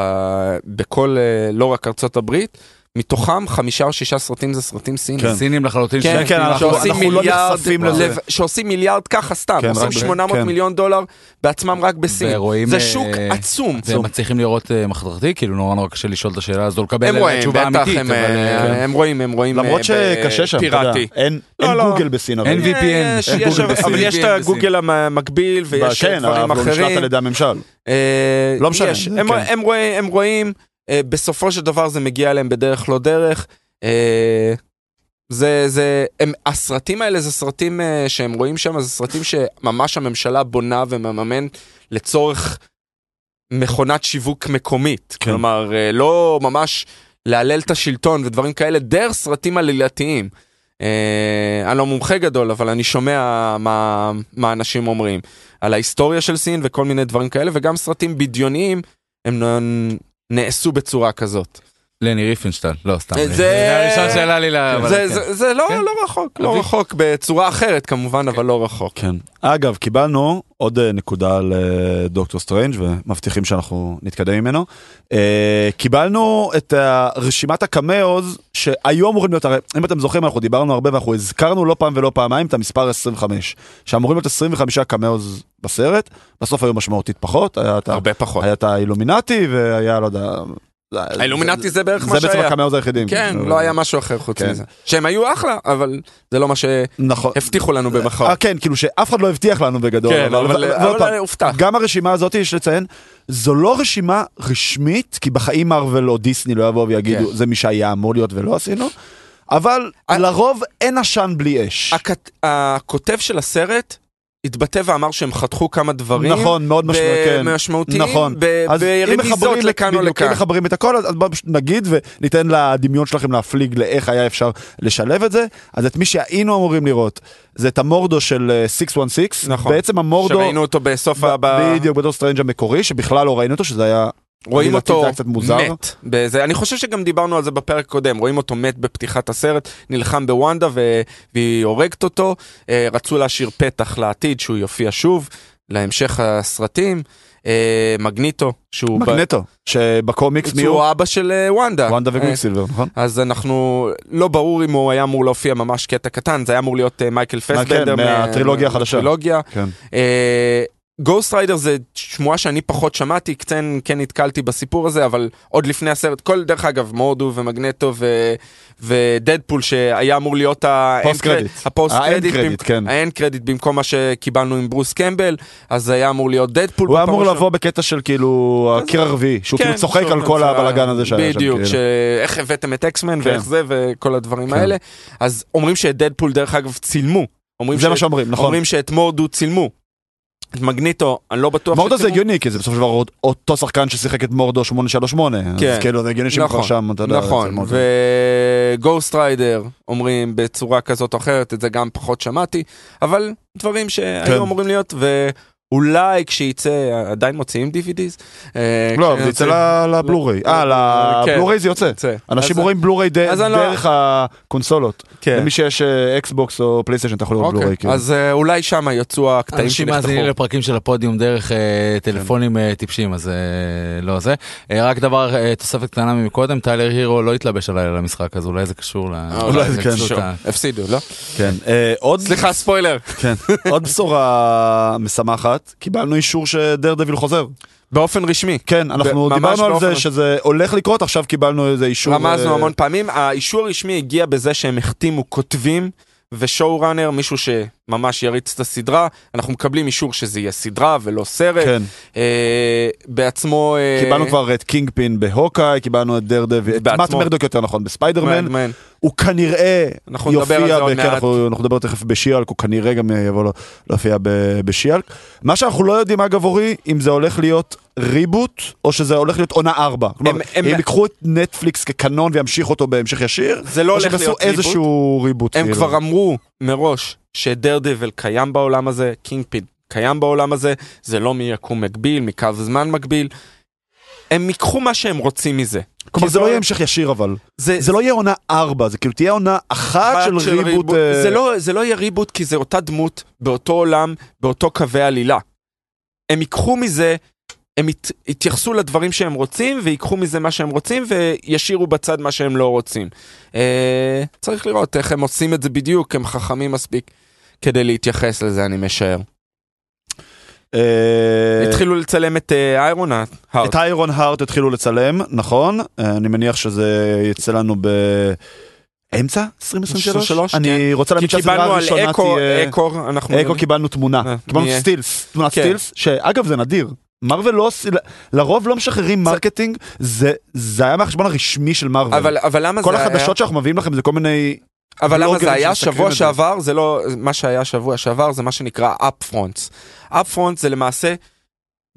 בכל, אה, לא רק ארצות הברית, מתוכם חמישה או שישה סרטים זה סרטים סינים.
כן.
סינים לחלוטין.
כן, כן, אנחנו-
שעושים
אנחנו לא
מיליארד,
נחשפים לזה.
לב- שעושים מיליארד ככה סתם,
כן, רק
עושים
ב-
800
כן.
מיליון דולר בעצמם רק בסין.
ורואים,
זה
אה,
שוק עצום.
והם מצליחים לראות אה, מחתרתי, כאילו נורא נורא קשה לשאול את השאלה הזו, לקבל
הם
עליה
רואים,
תשובה
בטח,
אמיתית.
הם,
אבל,
אה,
אה,
הם רואים, הם רואים.
למרות
אה,
שקשה שם, אתה יודע.
פיראטי.
אין
לא,
אין
לא.
גוגל בסין. אבל.
אין VPN,
יש-
אין
יש-
גוגל
אבל
בסין.
יש את
VPN
הגוגל המקביל ויש
כן,
דברים
אבל הוא נשלט
אחרים.
על ידי הממשל.
אה,
לא משנה,
יש.
זה
הם,
כן.
הם, רואים, הם רואים, אה, בסופו של דבר זה מגיע אליהם בדרך לא דרך. אה, זה, זה, הם, הסרטים האלה זה סרטים אה, שהם רואים שם, זה סרטים שממש הממשלה בונה ומממנת לצורך מכונת שיווק מקומית.
כן.
כלומר, אה, לא ממש להלל את השלטון ודברים כאלה, דרך סרטים עלילתיים. אה, אני לא מומחה גדול, אבל אני שומע מה, מה אנשים אומרים. על ההיסטוריה של סין וכל מיני דברים כאלה, וגם סרטים בדיוניים, הם נ- נעשו בצורה כזאת.
לני ריפנשטל, לא סתם.
זה-
זה הראשון שעלה לי ל... אבל
זה,
כן.
זה, זה לא,
כן.
לא רחוק, לא
אבי.
אוקיי.
רחוק, בצורה אחרת כמובן, אבל לא רחוק.
כן. אגב, קיבלנו עוד אה, נקודה על אה, דוקטור סטרנג' ומבטיחים שאנחנו נתקדם ממנו. אה, קיבלנו את אה, רשימת הקמאוז שהיו אמורים להיות, הרי אם אתם זוכרים אנחנו דיברנו הרבה ואנחנו הזכרנו לא פעם ולא פעמיים את המספר 25, שאמורים להיות 25 קמאוז בסרט, בסוף היו משמעותית פחות, היה את ה-
הרבה פחות.
היה את האילומינטי והיה לא יודע.
האילומינטי זה בערך מה
זה בעצם
שהיה.
הקמאוז היחידים.
כן, לא היה משהו אחר חוץ
כן.
מזה. שהם היו אחלה, אבל זה לא מה שהבטיחו
נכון.
לנו
אה,
במחר.
כן, כאילו שאף אחד לא הבטיח לנו בגדול.
כן, אבל
ועוד פעם,
אבל הופתע.
גם הרשימה הזאת, יש לציין, זו לא רשימה רשמית, כי בחיים מארוול או דיסני לא יבואו ויגידו,
כן.
זה מי שהיה אמור להיות ולא עשינו, אבל
אה,
לרוב אין עשן בלי אש.
הכת- הכותב של הסרט התבטא ואמר שהם חתכו כמה דברים.
נכון, מאוד משמעותי, כן.
משמעותיים.
נכון.
ב-
אז אם
ברמיזות
מחברים את-
לכאן או
בדיוק, אם
לכאן.
מחברים את הכל, אז אז בואו פשוט נגיד וניתן לדמיון שלכם להפליג לאיך היה אפשר לשלב את זה. אז את מי שהיינו אמורים לראות, זה את המורדו של אה, 616.
נכון.
בעצם המורדו...
שראינו אותו בסוף ה... ב-
בדיוק, בדור סטרנג' המקורי, שבכלל לא ראינו אותו, שזה היה...
רואים
לדעתי זה
אותו
היה קצת מוזר.
מת. בזה, אני חושב שגם דיברנו על זה בפרק הקודם, רואים אותו מת בפתיחת הסרט, נלחם בוונדה ו... והיא הורגת אותו, אה, רצו להשאיר פתח לעתיד שהוא יופיע שוב, להמשך הסרטים, אה, מגניטו, שהוא ב-
מגנטו, שבקומיקס מי הוא?
שהוא האבא של אה, וונדה.
וונדה
אה,
וגוויקסילבר, נכון?
אז אנחנו, לא ברור אם הוא היה אמור להופיע ממש קטע קטן, זה היה אמור להיות אה, מייקל פסבנדר.
כן, מהטרילוגיה החדשה.
מהטרילוגיה.
כן.
גוסט ריידר זה שמועה שאני פחות שמעתי, כן, כן נתקלתי בסיפור הזה, אבל עוד לפני הסרט, כל, דרך אגב, מורדו ומגנטו ו, ודדפול שהיה אמור להיות ה-
פוסט קרדיט.
הפוסט
האנד
קרדיט,
קרדיט, כן.
האנד קרדיט במקום מה שקיבלנו עם ברוס קמבל, אז היה אמור להיות דדפול.
הוא היה
בפעם
אמור
הראשונה.
לבוא בקטע של כאילו הקיר הרביעי, שהוא
כן,
כאילו צוחק
שהוא
על כל
זה-
הבלאגן הזה שהיה שם.
בדיוק,
כאילו.
שאיך הבאתם את אקסמן
כן.
ואיך זה וכל הדברים
כן.
האלה. אז אומרים שאת דדפול דרך אגב צילמו. אומרים
זה מה
שאת-
שאומרים, נכון.
אומרים שאת מורדו צילמו. את מגניטו, אני לא בטוח
מורדו זה
שצילמו.
הגיוני, כי זה בסופו של דבר עוד- אותו שחקן ששיחק את מורדו 838,
כן.
אז כאילו זה הגיוני שהם כבר
נכון,
שם, אתה יודע.
נכון,
אצל מורדו.
וגוסט ריידר אומרים בצורה כזאת או אחרת, את זה גם פחות שמעתי, אבל דברים
כן.
שהיו אמורים להיות, ואולי כשיצא, עדיין מוציאים DVDs. אה,
לא, אבל זה
כשיוצא-
יצא ל- לבלוריי. אה,
כן.
לבלוריי זה יוצא.
יוצא.
אנשים
אז-
רואים בלוריי ד-
אז אני לא-
דרך הקונסולות.
כן.
למי שיש אה, אקסבוקס או פלייסטיישן, אתה יכול לראות
אוקיי,
בלוריי. כאילו.
אז אה, אולי שם יצאו הקטעים
אנשים
שנחתכו.
מאזינים לפרקים של הפודיום דרך אה, טלפונים אה, טיפשים, אז אה, לא זה. אה, רק דבר, אה, תוספת קטנה ממקודם, טיילר הירו לא התלבש הלילה למשחק, אז אולי זה קשור ל...
אה, אולי
זה כן.
קשור.
שוב, הפסידו, לא?
כן. אה, עוד
סליחה, ספוילר.
כן. עוד בשורה משמחת, קיבלנו אישור שדר דביל חוזר.
באופן רשמי.
כן, אנחנו
ממש
דיברנו על זה
באופן-
שזה הולך לקרות, עכשיו קיבלנו איזה אישור.
רמזנו
אה,
המון פעמים, האישור הרשמי הגיע בזה שהם החתימו כותבים ושואו ראנר, מישהו שממש יריץ את הסדרה, אנחנו מקבלים אישור שזה יהיה סדרה ולא סרט,
כן,
אה, בעצמו... אה,
קיבלנו כבר את קינג פין בהוקאי, קיבלנו את דר דביל, את מאט
בעצמו.
מרדוק יותר נכון בספיידרמן,
מן.
הוא כנראה
אנחנו נדבר על
יופיע,
זה עוד
ב- כן,
מעט.
אנחנו אנחנו נדבר תכף בשיאלק, הוא כנראה גם יבוא לו- להופיע ב- בשיאלק. מה שאנחנו לא יודעים אגב אורי, אם זה הולך להיות ריבוט, או שזה הולך להיות עונה 4. כלומר,
הם-
אם
הם-
ייקחו את נטפליקס כקנון וימשיך אותו בהמשך ישיר,
זה לא
או
הולך
שהם עשו
להיות ריבוט.
איזשהו ריבוט.
הם
כאילו.
כבר אמרו מראש שדר דבל קיים בעולם הזה, קינג פיד קיים בעולם הזה, זה לא מיקום מקביל, מקו זמן מקביל. הם ייקחו מה שהם רוצים מזה.
כלומר,
כי
זה
זו-
לא יהיה המשך ישיר אבל.
זה,
זה לא יהיה עונה 4, זה כאילו תהיה עונה אחת של ריבוט. אה,
זה לא, זה לא יהיה ריבוט כי זה אותה דמות, באותו עולם, באותו קווי עלילה. הם ייקחו מזה, הם ית, יתייחסו לדברים שהם רוצים, ויקחו מזה מה שהם רוצים, וישאירו בצד מה שהם לא רוצים. אה, צריך לראות איך הם עושים את זה בדיוק, הם חכמים מספיק כדי להתייחס לזה, אני משער.
אה,
התחילו לצלם את אה, איירון הארט.
את איירון הארט התחילו לצלם, נכון? אה, אני מניח שזה יצא לנו באמצע 2023?
23,
אני רוצה
כן. כי
להגיד
קיבלנו
שהסדרה
על
הראשונה
אקו,
תהיה...
אקו, אנחנו...
אקו אה, קיבלנו תמונה,
אה,
קיבלנו
מי-
סטילס, תמונת
כן.
סטילס, שאגב זה נדיר. מרוויל לא עושים, לרוב לא משחררים מרקטינג, זה זה היה מהחשבון הרשמי של מרוויל.
אבל, אבל למה
כל
זה היה? נכון.
החדשות שאנחנו מביאים לכם זה כל מיני...
אבל למה
בלוגרים
זה היה
שמסקרים
שבוע
את זה.
שעבר, זה לא, מה שהיה שבוע שעבר זה מה שנקרא אפפרונטס. אפפרונטס זה למעשה,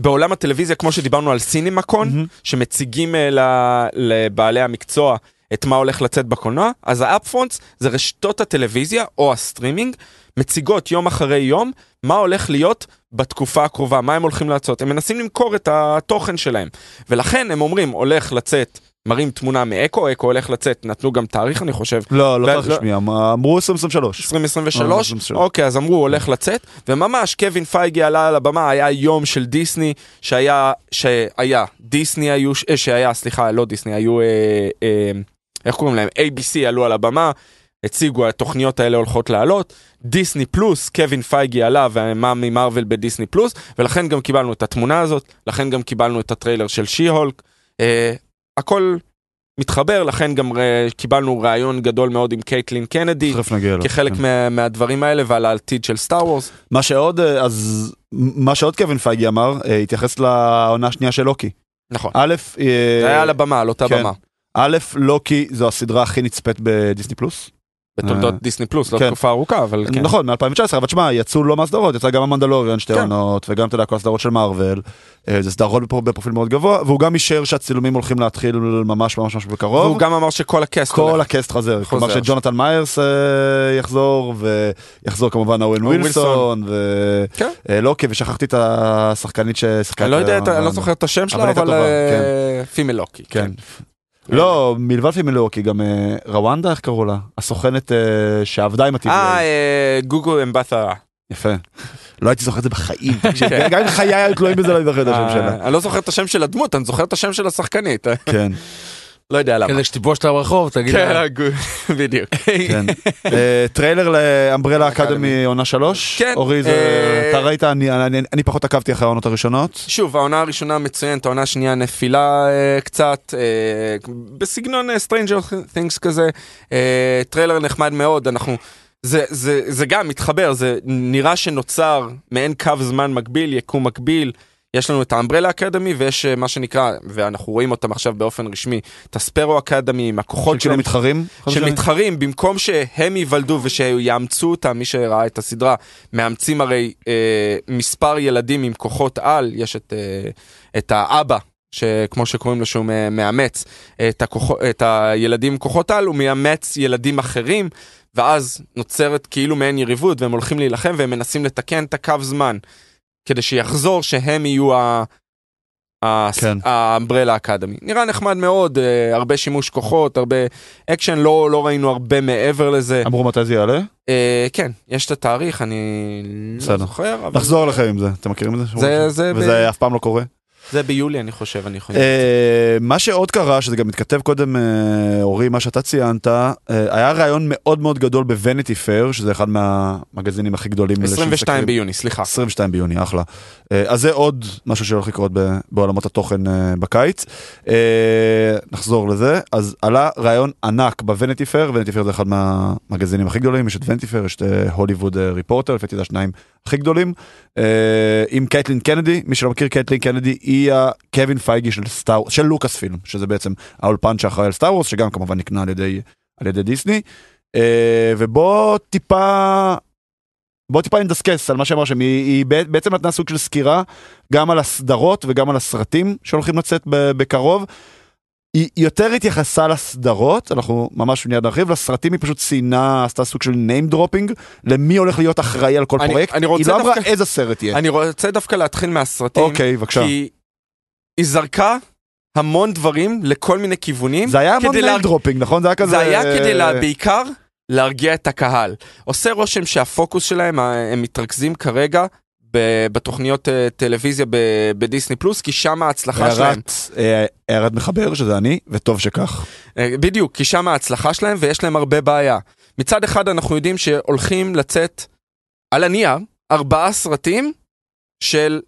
בעולם הטלוויזיה, כמו שדיברנו על סינמקון,
מהמם.
שמציגים אה, ל- לבעלי המקצוע את מה הולך לצאת בקולנוע, אז האפפרונטס זה רשתות הטלוויזיה או הסטרימינג, מציגות יום אחרי יום מה הולך להיות בתקופה הקרובה, מה הם הולכים לעשות. הם מנסים למכור את התוכן שלהם, ולכן הם אומרים, הולך לצאת, מראים תמונה מאקו, אקו הולך לצאת, נתנו גם תאריך אני חושב,
לא, לא
לא-
צריך
לא-
רשמי, אמרו 2023.
2023,
2023.
אוקיי, אז אמרו, הולך לצאת, וממש קווין פייגי עלה על הבמה, היה יום של דיסני, שהיה, שהיה, דיסני היו, אה, שהיה, סליחה, לא דיסני, היו, אה, אה, איך קוראים להם? ABC עלו על הבמה, הציגו, התוכניות האלה הולכות לעלות, דיסני פלוס, קווין פייגי עלה, ומה ממרוויל בדיסני פלוס, ולכן גם קיבלנו את התמונה הזאת, לכן גם קיבלנו את הטריילר של שי-הולק, אה, הכל... מתחבר לכן גם אה, קיבלנו רעיון גדול מאוד עם קייטלין קנדי
תכף נגיע אליו.
כחלק
כן.
מה, מהדברים האלה ועל העתיד של סטאר וורס.
מה שעוד, אה, אז מה שעוד קווין פייגי אמר, אה, התייחס לעונה השנייה של לוקי.
נכון.
א', אה,
זה היה על הבמה, על אותה
כן.
במה.
א', לוקי זו הסדרה הכי נצפית בדיסני פלוס.
בתולדות
אה.
דיסני פלוס, לא
כן.
תקופה ארוכה, אבל כן.
נכון, מ-2019, אבל תשמע, יצאו לא מהסדרות, יצא גם המנדלוריון שתי
כן.
עונות, וגם, אתה יודע, כל הסדרות של מארוול. אה, זה סדרות בפר- בפרופיל מאוד גבוה, והוא גם אישר שהצילומים הולכים להתחיל ממש ממש ממש בקרוב.
והוא גם אמר שכל הקאסט
כל
הולך.
הקאסט חזר,
חוזר.
כלומר שג'ונתן מיירס אה, יחזור, ויחזור כמובן אוהן
אוהן
ווילסון, אה,
כן.
ולוקי, ושכחתי את השחקנית ששיחקה.
אני לא
את
יודע, את ה- אני לא
ה-
זוכר את השם
אה, אבל
שלה,
הייתה
אבל
טובה,
פימל לוקי. אה,
כן. לא, מלבד פימלוקי, גם אה, רואנדה, איך קראו לה? הסוכנת אה, שעבדה עם
אה,
הטבעי.
אה, גוגו אמבתה.
יפה. לא הייתי זוכר את זה בחיים. תקשיב,
כן.
גם אם חיי היו תלויים בזה, לא הייתי זוכר את השם שלה.
אה, אני לא זוכר את השם של הדמות, אני זוכר את השם של השחקנית. אה,
כן,
לא יודע למה.
כדי שתיפוש אותה ברחוב, תגיד
כן,
לה,
הגו- בדיוק.
כן. אה, טריילר לאמברלה
אקדמי.
אקדמי עונה שלוש.
כן,
אורי, זה-
אה,
אתה ראית, אני- אני אני פחות עקבתי אחרי העונות הראשונות.
שוב, העונה הראשונה מצוינת, העונה השנייה נפילה אה, קצת, אה, בסגנון אה, Stranger Things כזה, אה, טריילר נחמד מאוד, אנחנו... זה, זה, זה גם מתחבר, זה נראה שנוצר מעין קו זמן מקביל, יקום מקביל. יש לנו את האמברלה אקדמי ויש אה, מה שנקרא, ואנחנו רואים אותם עכשיו באופן רשמי, את הספרו אקדמי עם הכוחות
כאילו
שלהם,
מתחרים?
שמתחרים, במקום שהם ייוולדו ושיאמצו אותם, מי שראה את הסדרה, מאמצים הרי אה, מספר ילדים עם כוחות על, יש את, אה, את האבא, שכמו שקוראים לו שהוא מ- מאמץ, את, הכוח, את הילדים עם כוחות על, הוא מאמץ ילדים אחרים, ואז נוצרת כאילו מעין יריבות, והם הולכים להילחם והם מנסים לתקן את הקו זמן, כדי שיחזור שהם יהיו ה... ה-
כן.
האמברלה אקדמי. נראה נחמד מאוד, אה, הרבה שימוש כוחות, הרבה אקשן, לא, לא ראינו הרבה מעבר לזה.
אמרו מתי זה יעלה?
אה, כן, יש את התאריך, אני לא
בסדר.
זוכר, אבל
נחזור אליכם עם זה, אתם מכירים את זה?
זה- זה ב-
וזה אף פעם לא קורה.
זה ביולי אני חושב, אני חושב.
אה, מה שעוד קרה, שזה גם מתכתב קודם, אה, אורי, מה שאתה ציינת, אה, היה ראיון מאוד מאוד גדול בוונטי פייר, שזה אחד מהמגזינים הכי גדולים. לשם
22
מסתכלים.
ביוני, סליחה.
22 ביוני, אחלה. אה, אז זה עוד משהו שהולך לקרות ב- בעולמות התוכן אה, בקיץ. אה, נחזור לזה. אז עלה רעיון ענק בוונטי פייר, וונטי פייר זה אחד מהמגזינים הכי גדולים, יש את ונטי פייר, יש את אה, הוליווד אה, ריפורטר, לפי דעתי זה השניים הכי גדולים. אה, עם קייטלין קנדי, מי שלא מכיר, קייטלין קנדי היא הקווין פייגי של, סטאר, של לוקאס פילם, שזה בעצם האולפן שאחראי על סטאר וורס, שגם כמובן נקנה על ידי על ידי דיסני, אה, ובוא טיפה, בוא טיפה נדסקס על מה שאמר שם, היא, היא בע- בעצם נתנה סוג של סקירה גם על הסדרות וגם על הסרטים שהולכים לצאת ב- בקרוב. היא היא יותר התייחסה לסדרות, אנחנו ממש מיד נרחיב, לסרטים היא פשוט ציינה, עשתה סוג של name dropping, למי הולך להיות אחראי על כל
אני-
פרויקט,
אני
היא
רוצה
לא אמרה
דווקא-
איזה סרט יהיה.
אני רוצה דווקא להתחיל מהסרטים.
אוקיי, בבקשה.
כי היא זרקה המון דברים לכל מיני כיוונים.
זה היה המון
כדי להרג-
name dropping, נכון? זה היה כזה...
זה היה כדי לה, בעיקר להרגיע את הקהל. עושה רושם שהפוקוס שלהם, ה- הם מתרכזים כרגע ב- בתוכניות אה, טלוויזיה ב- בדיסני פלוס, כי שם ההצלחה שלהם.
הערת, אה, הערת מחבר, שזה אני, וטוב שכך.
אה, בדיוק, כי שם ההצלחה שלהם ויש להם הרבה בעיה. מצד אחד אנחנו יודעים שהולכים לצאת על הנייר ארבעה סרטים של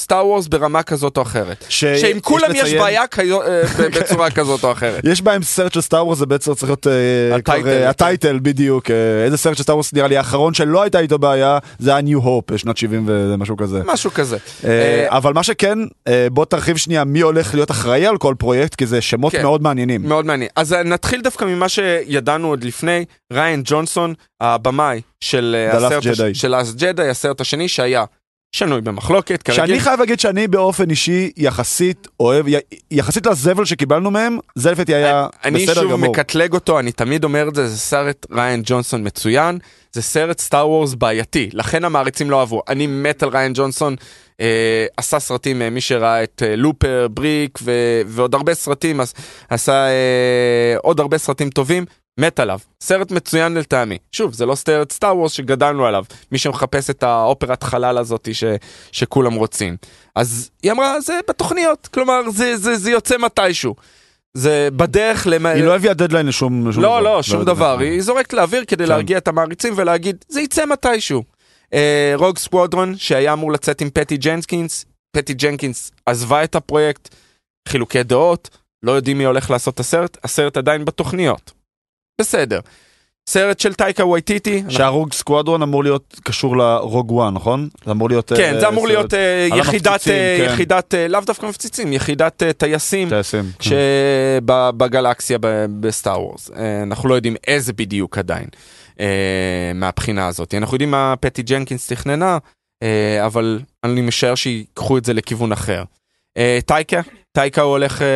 סטאר וורס ברמה כזאת או אחרת.
ש-
שעם כולם יש
אה, לציין- כן.
בעיה כיו- אה, ב- בצורה כזאת או אחרת.
יש בהם סרט של סטאר וורס, זה בעצם צריך להיות... אה,
הטייטל.
כבר, אה, הטייטל, בדיוק. אה, איזה סרט של סטאר וורס נראה לי האחרון שלא הייתה איתו בעיה, זה היה ניו הופ, אה, שנת 70 ומשהו כזה.
משהו כזה.
אה, אבל מה שכן, אה, בוא תרחיב שנייה מי הולך להיות אחראי על כל פרויקט, כי זה שמות
כן.
מאוד מעניינים.
מאוד מעניין. אז אה, נתחיל דווקא ממה שידענו עוד לפני, ריין ג'ונסון, הבמאי של אה,
The Last
הסרט הש-
Jedi.
של Last Jedi, הסרט השני שהיה שנוי במחלוקת,
שאני
כרגיל.
חייב להגיד שאני באופן אישי יחסית אוהב, י- יחסית לזבל שקיבלנו מהם, זה לפי היה
אה, אני
בסדר
שוב
גמור.
מקטלג אותו, אני תמיד אומר את זה, זה סרט ריין ג'ונסון מצוין, זה סרט סטאר וורס בעייתי, לכן המעריצים לא אהבו. אני מת על ריין ג'ונסון, אה, עשה סרטים, אה, מי שראה את אה, לופר, בריק ו- ועוד הרבה סרטים, אז, עשה אה, עוד הרבה סרטים טובים, מת עליו. סרט מצוין לטעמי. שוב, זה לא סרט סטאר וורס שגדלנו עליו, מי שמחפש את האופרת חלל הזאת ש- שכולם רוצים. אז היא אמרה, זה בתוכניות, כלומר, זה, זה, זה יוצא מתישהו. זה בדרך למ...
היא לא הביאה דדליין לשום לשום
לא,
דבר.
לא, שום דבר. היא זורקת לאוויר כדי
כן.
להרגיע את המעריצים ולהגיד, זה יצא מתישהו. אה, רוג סקוודרון, שהיה אמור לצאת עם פטי ג'נקינס, פטי ג'נקינס עזבה את הפרויקט, חילוקי דעות, לא יודעים מי הולך לעשות את הסרט, הסרט עדיין בתוכניות. בסדר. סרט של טייקה וייטיטי,
שהרוג סקוואדרון אמור להיות קשור לרוג וואן, נכון? זה אמור להיות...
כן,
אה,
זה אמור
סרט
להיות אה,
על
יחידת,
המפציצים,
אה,
כן.
יחידת, אה, לאו דווקא מפציצים, יחידת אה, טייסים
טייסים. כן.
שבגלקסיה בסטאר וורס. אנחנו לא יודעים איזה בדיוק עדיין אה, מהבחינה הזאת. אנחנו יודעים מה פטי ג'נקינס תכננה, אה, אבל אני משער שיקחו את זה לכיוון אחר. אה, טייקה, טייקה הוא הולך אה,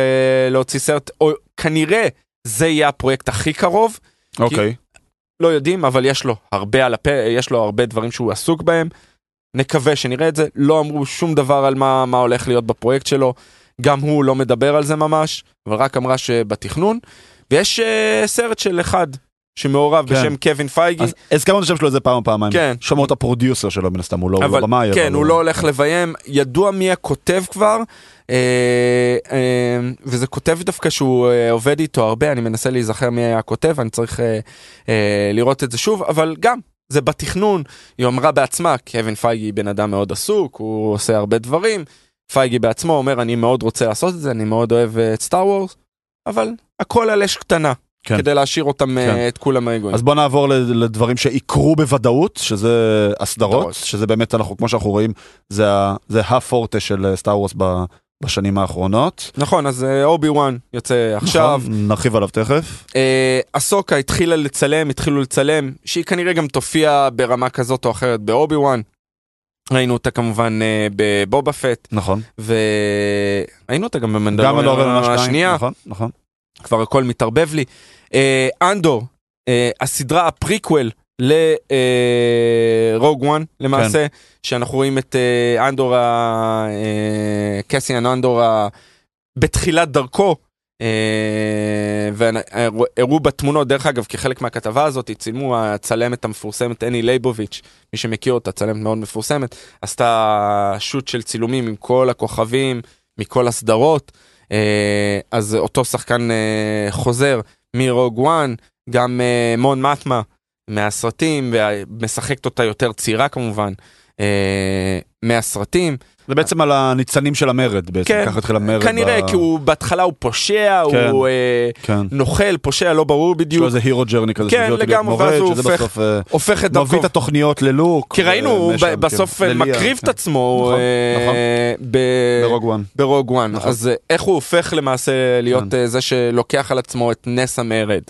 להוציא סרט, או כנראה זה יהיה הפרויקט הכי קרוב,
אוקיי.
לא יודעים, אבל יש לו הרבה על הפה, יש לו הרבה דברים שהוא עסוק בהם. נקווה שנראה את זה, לא אמרו שום דבר על מה, מה הולך להיות בפרויקט שלו, גם הוא לא מדבר על זה ממש, אבל רק אמרה שבתכנון, ויש uh, סרט של אחד שמעורב
כן.
כן. בשם קווין פייגי,
אז הזכרנו את השם שלו איזה פעם או פעמיים.
כן.
שמעו את הפרודיוסר שלו מן הסתם, הוא לא הוא
אבל
הבמאי.
כן, הוא לא הולך לביים, ידוע מי הכותב כבר, אה, אה, וזה כותב דווקא שהוא אה, עובד איתו הרבה, אני מנסה להיזכר מי היה הכותב, אני צריך אה, אה, לראות את זה שוב, אבל גם. זה בתכנון, היא אמרה בעצמה, קווין פייגי בן אדם מאוד עסוק, הוא עושה הרבה דברים, פייגי בעצמו אומר, אני מאוד רוצה לעשות את זה, אני מאוד אוהב אה, את סטאר וורס, אבל הכל על אש קטנה,
כן.
כדי להשאיר אותם, אה,
כן.
את כולם רגועים.
אז בוא נעבור ל- לדברים שיקרו בוודאות, שזה הסדרות,
הסדרות.
שזה באמת אנחנו, כמו שאנחנו רואים, זה ה- זה הפורטה של אה, סטאר וורס ב- בשנים האחרונות.
נכון, אז אובי וואן יוצא עכשיו,
נכון? נרחיב עליו תכף.
אה, אסוקה התחילה לצלם, התחילו לצלם, שהיא כנראה גם תופיע ברמה כזאת או אחרת באובי וואן. ראינו אותה כמובן אה, בבובה פט,
נכון.
וראינו אותה גם
גם על
במנדלוריה
אורן עונה שתיים.
השנייה,
נכון, נכון.
כבר הכל מתערבב לי. אה, אנדור, אה, הסדרה הפריקוול לרוג וואן למעשה, שאנחנו רואים את אה, אנדור, ה- אה, קסיאן אנדור ה- בתחילת דרכו. אה, והראו בתמונות, דרך אגב, כחלק מהכתבה הזאת, צילמו הצלמת המפורסמת, אני לייבוביץ', מי שמכיר אותה, צלמת מאוד מפורסמת, עשתה שוט של צילומים עם כל הכוכבים, מכל הסדרות, אה, אז אותו שחקן אה, חוזר מרוג וואן, גם אה, מון מטמה מהסרטים, ומשחקת אותה יותר צעירה כמובן, אה, מהסרטים.
זה בעצם על הניצנים של המרד בעצם,
כן,
ככה התחיל המרד.
כנראה
ב-
כי הוא בהתחלה הוא פושע,
כן.
הוא אה,
כן.
נוכל, פושע, לא ברור
יש לו
בדיוק,
איזה הירו ג'רני כזה,
כן,
שמביא אותי להיות
לגמרי,
מורה,
ואז הוא
שזה
הופך-
בסוף, אה,
הופך את דרכו.
מביא את התוכניות ללוק.
כי ראינו, הוא
ומשם, כן.
ב- בסוף אה,
לליה,
מקריב
כן.
את אה, עצמו
נכון,
אה,
נכון.
ב-
ברוג וואן.
ברוג וואן.
נכון. כן.
אז אה, איך הוא הופך למעשה להיות אה, זה שלוקח על עצמו את נס המרד.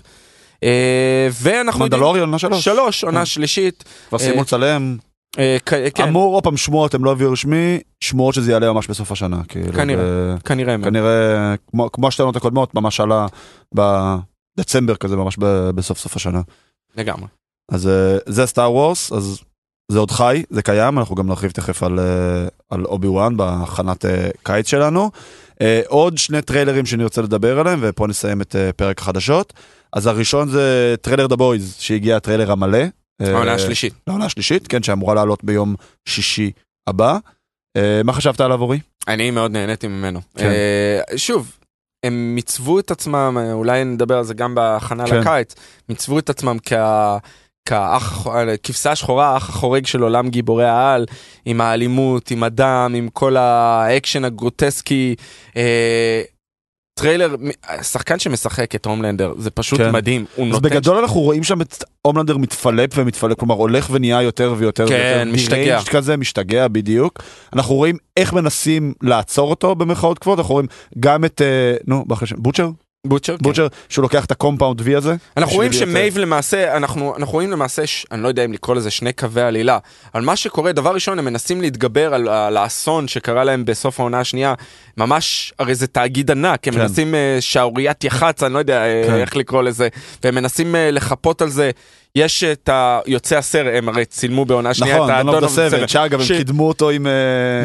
אה, ואנחנו יודעים...
מנדלוריון, עונה שלוש.
שלוש, עונה
כן.
שלישית.
כבר סיימו
אה,
לצלם.
אה, כ- כן,
אמור, עוד פעם, שמועות, הם לא הביאו רשמי, שמועות שזה יעלה ממש בסוף השנה. כאילו,
כנראה.
ו-
כנראה.
כנראה, כמו- כמו השתי עונות הקודמות, ממש עלה בדצמבר כזה, ממש ב- בסוף סוף השנה.
לגמרי.
אז אה, זה סטאר וורס, אז זה עוד חי, זה קיים, אנחנו גם נרחיב תכף על, אה, על אובי וואן בהכנת אה, קיץ שלנו. אה, עוד שני טריילרים שנרצה לדבר עליהם, ופה נסיים את אה, פרק החדשות. אז הראשון זה טריילר דה בויז, שהגיע הטריילר המלא. אה,
העונה השלישית.
לעונה השלישית, כן, שאמורה לעלות ביום שישי הבא. אה, מה חשבת עליו, אורי?
אני מאוד נהניתי ממנו.
כן.
אה, שוב, הם מיצבו את עצמם, אה, אולי נדבר על זה גם בהכנה
כן.
לקיץ, מיצבו את עצמם כ- כאח, הח- אה, כבשה השחורה, האח החורג של עולם גיבורי העל, עם האלימות, עם הדם, עם כל האקשן הגרוטסקי. אה, טריילר, מ- השחקן שמשחק את הומלנדר, זה פשוט
כן.
מדהים. הוא
אז
נותן...
בגדול אנחנו רואים שם את הומלנדר מתפלפ ומתפלפ, כלומר הולך ונהיה יותר ויותר
כן,
ויותר
משתגע.
deranged כזה, משתגע בדיוק. אנחנו רואים איך מנסים לעצור אותו במרכאות כבוד, אנחנו רואים גם את, אה, נו, באחרי שם, בוטשר?
בוטשר? כן.
בוטשר, שהוא לוקח את הקומפאונד וי הזה.
אנחנו רואים
בשביל אה,
שמייב למעשה, אנחנו, אנחנו רואים למעשה, ש, אני לא יודע אם לקרוא לזה שני קווי עלילה, אבל מה שקורה, דבר ראשון, הם מנסים להתגבר על, על האסון שקרה להם בסוף העונה השנייה, ממש, הרי זה תאגיד ענק, הם
כן.
מנסים אה, שערוריית יח"צ, אני לא יודע אה,
כן.
איך לקרוא לזה, והם מנסים אה, לחפות על זה. יש את היוצא הסר, הם הרי צילמו בעונה שנייה
נכון,
את
דונלד
האדון
הסבן, שאגב, הם
ש-
קידמו אותו עם... אה,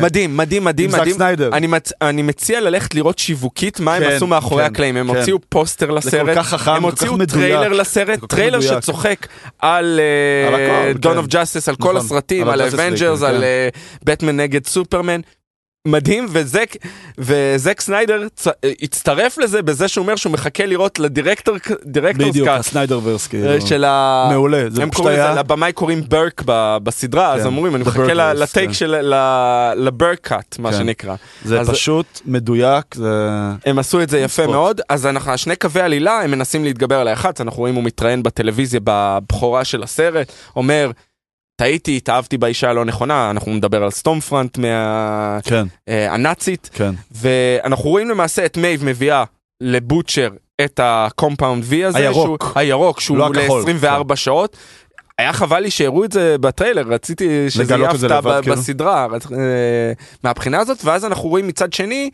מדהים, מדהים, מדהים,
עם זאק
מדהים.
סניידר.
אני, מצ... אני מציע ללכת לראות שיווקית מה הם
כן,
עשו מאחורי
כן,
הקלעים. הם
כן.
הוציאו פוסטר לסרט,
כך חכם,
הם
כל כך
הוציאו
מדויק,
טריילר לסרט,
כל כך
טריילר
מדויק.
שצוחק על אה,
על הכל,
דון
כן.
אוף ג'אסטיס, על כל
נכון,
הסרטים,
על
על
ה-Justice League,
אבנג'רס,
כן.
על בטמן נגד סופרמן. מדהים, וזק, וזק סניידר צ... אה, הצטרף לזה בזה שהוא אומר שהוא מחכה לראות לדירקטור דירקטורס
בדיוק,
קאט
הסניידר ורס, כאילו.
אה, של ה...
מעולה, זה
הם
פשוט
קוראים
היה...
לזה, לבמאי קוראים ברק ב- בסדרה, אז
כן,
אמורים, אני
The
מחכה ל-
Burkers,
לטייק
כן.
של לברק קאט, מה
כן.
שנקרא.
זה
אז-
פשוט מדויק, זה...
הם עשו את זה יפה
ספורט.
מאוד, אז אנחנו, שני קווי עלילה, הם מנסים להתגבר על האחת, אנחנו רואים הוא מתראיין בטלוויזיה בבכורה של הסרט, אומר, טעיתי, התאהבתי באישה הלא נכונה, אנחנו נדבר על סטום פרנט מה...
כן,
אה, הנאצית,
כן.
ואנחנו רואים למעשה את מייב מביאה לבוטשר את הקומפאונד V הזה,
הירוק.
שהוא, הירוק, שהוא
לא הכחול,
ל-24 שעות. היה חבל לי שהראו את זה בטריילר, רציתי שזה
לגלות
יהיה
את זה
הפתעה
לבד,
ב-
כאילו.
בסדרה, אז, אה, מהבחינה הזאת, ואז אנחנו רואים מצד שני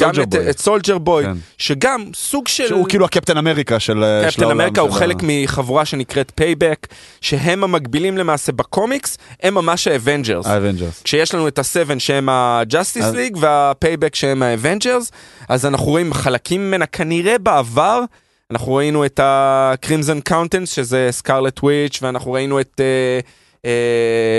גם
Soldier
את-
Boy.
את סולג'ר בוי,
כן.
שגם סוג של...
שהוא כאילו הקפטן אמריקה של אה, של
קפטן
העולם,
אמריקה הוא
של ה-
חלק מחבורה שנקראת פייבק, שהם המקבילים למעשה בקומיקס, הם ממש האבנג'רס.
האבנג'רס.
כשיש לנו את ה-7 שהם ה-Justice
אז-
League וה-Payback שהם ה-Avengers, אז אנחנו רואים חלקים ממנה כנראה בעבר. אנחנו ראינו את ה-Crimson Countess שזה סקארלט וויץ', ואנחנו ראינו את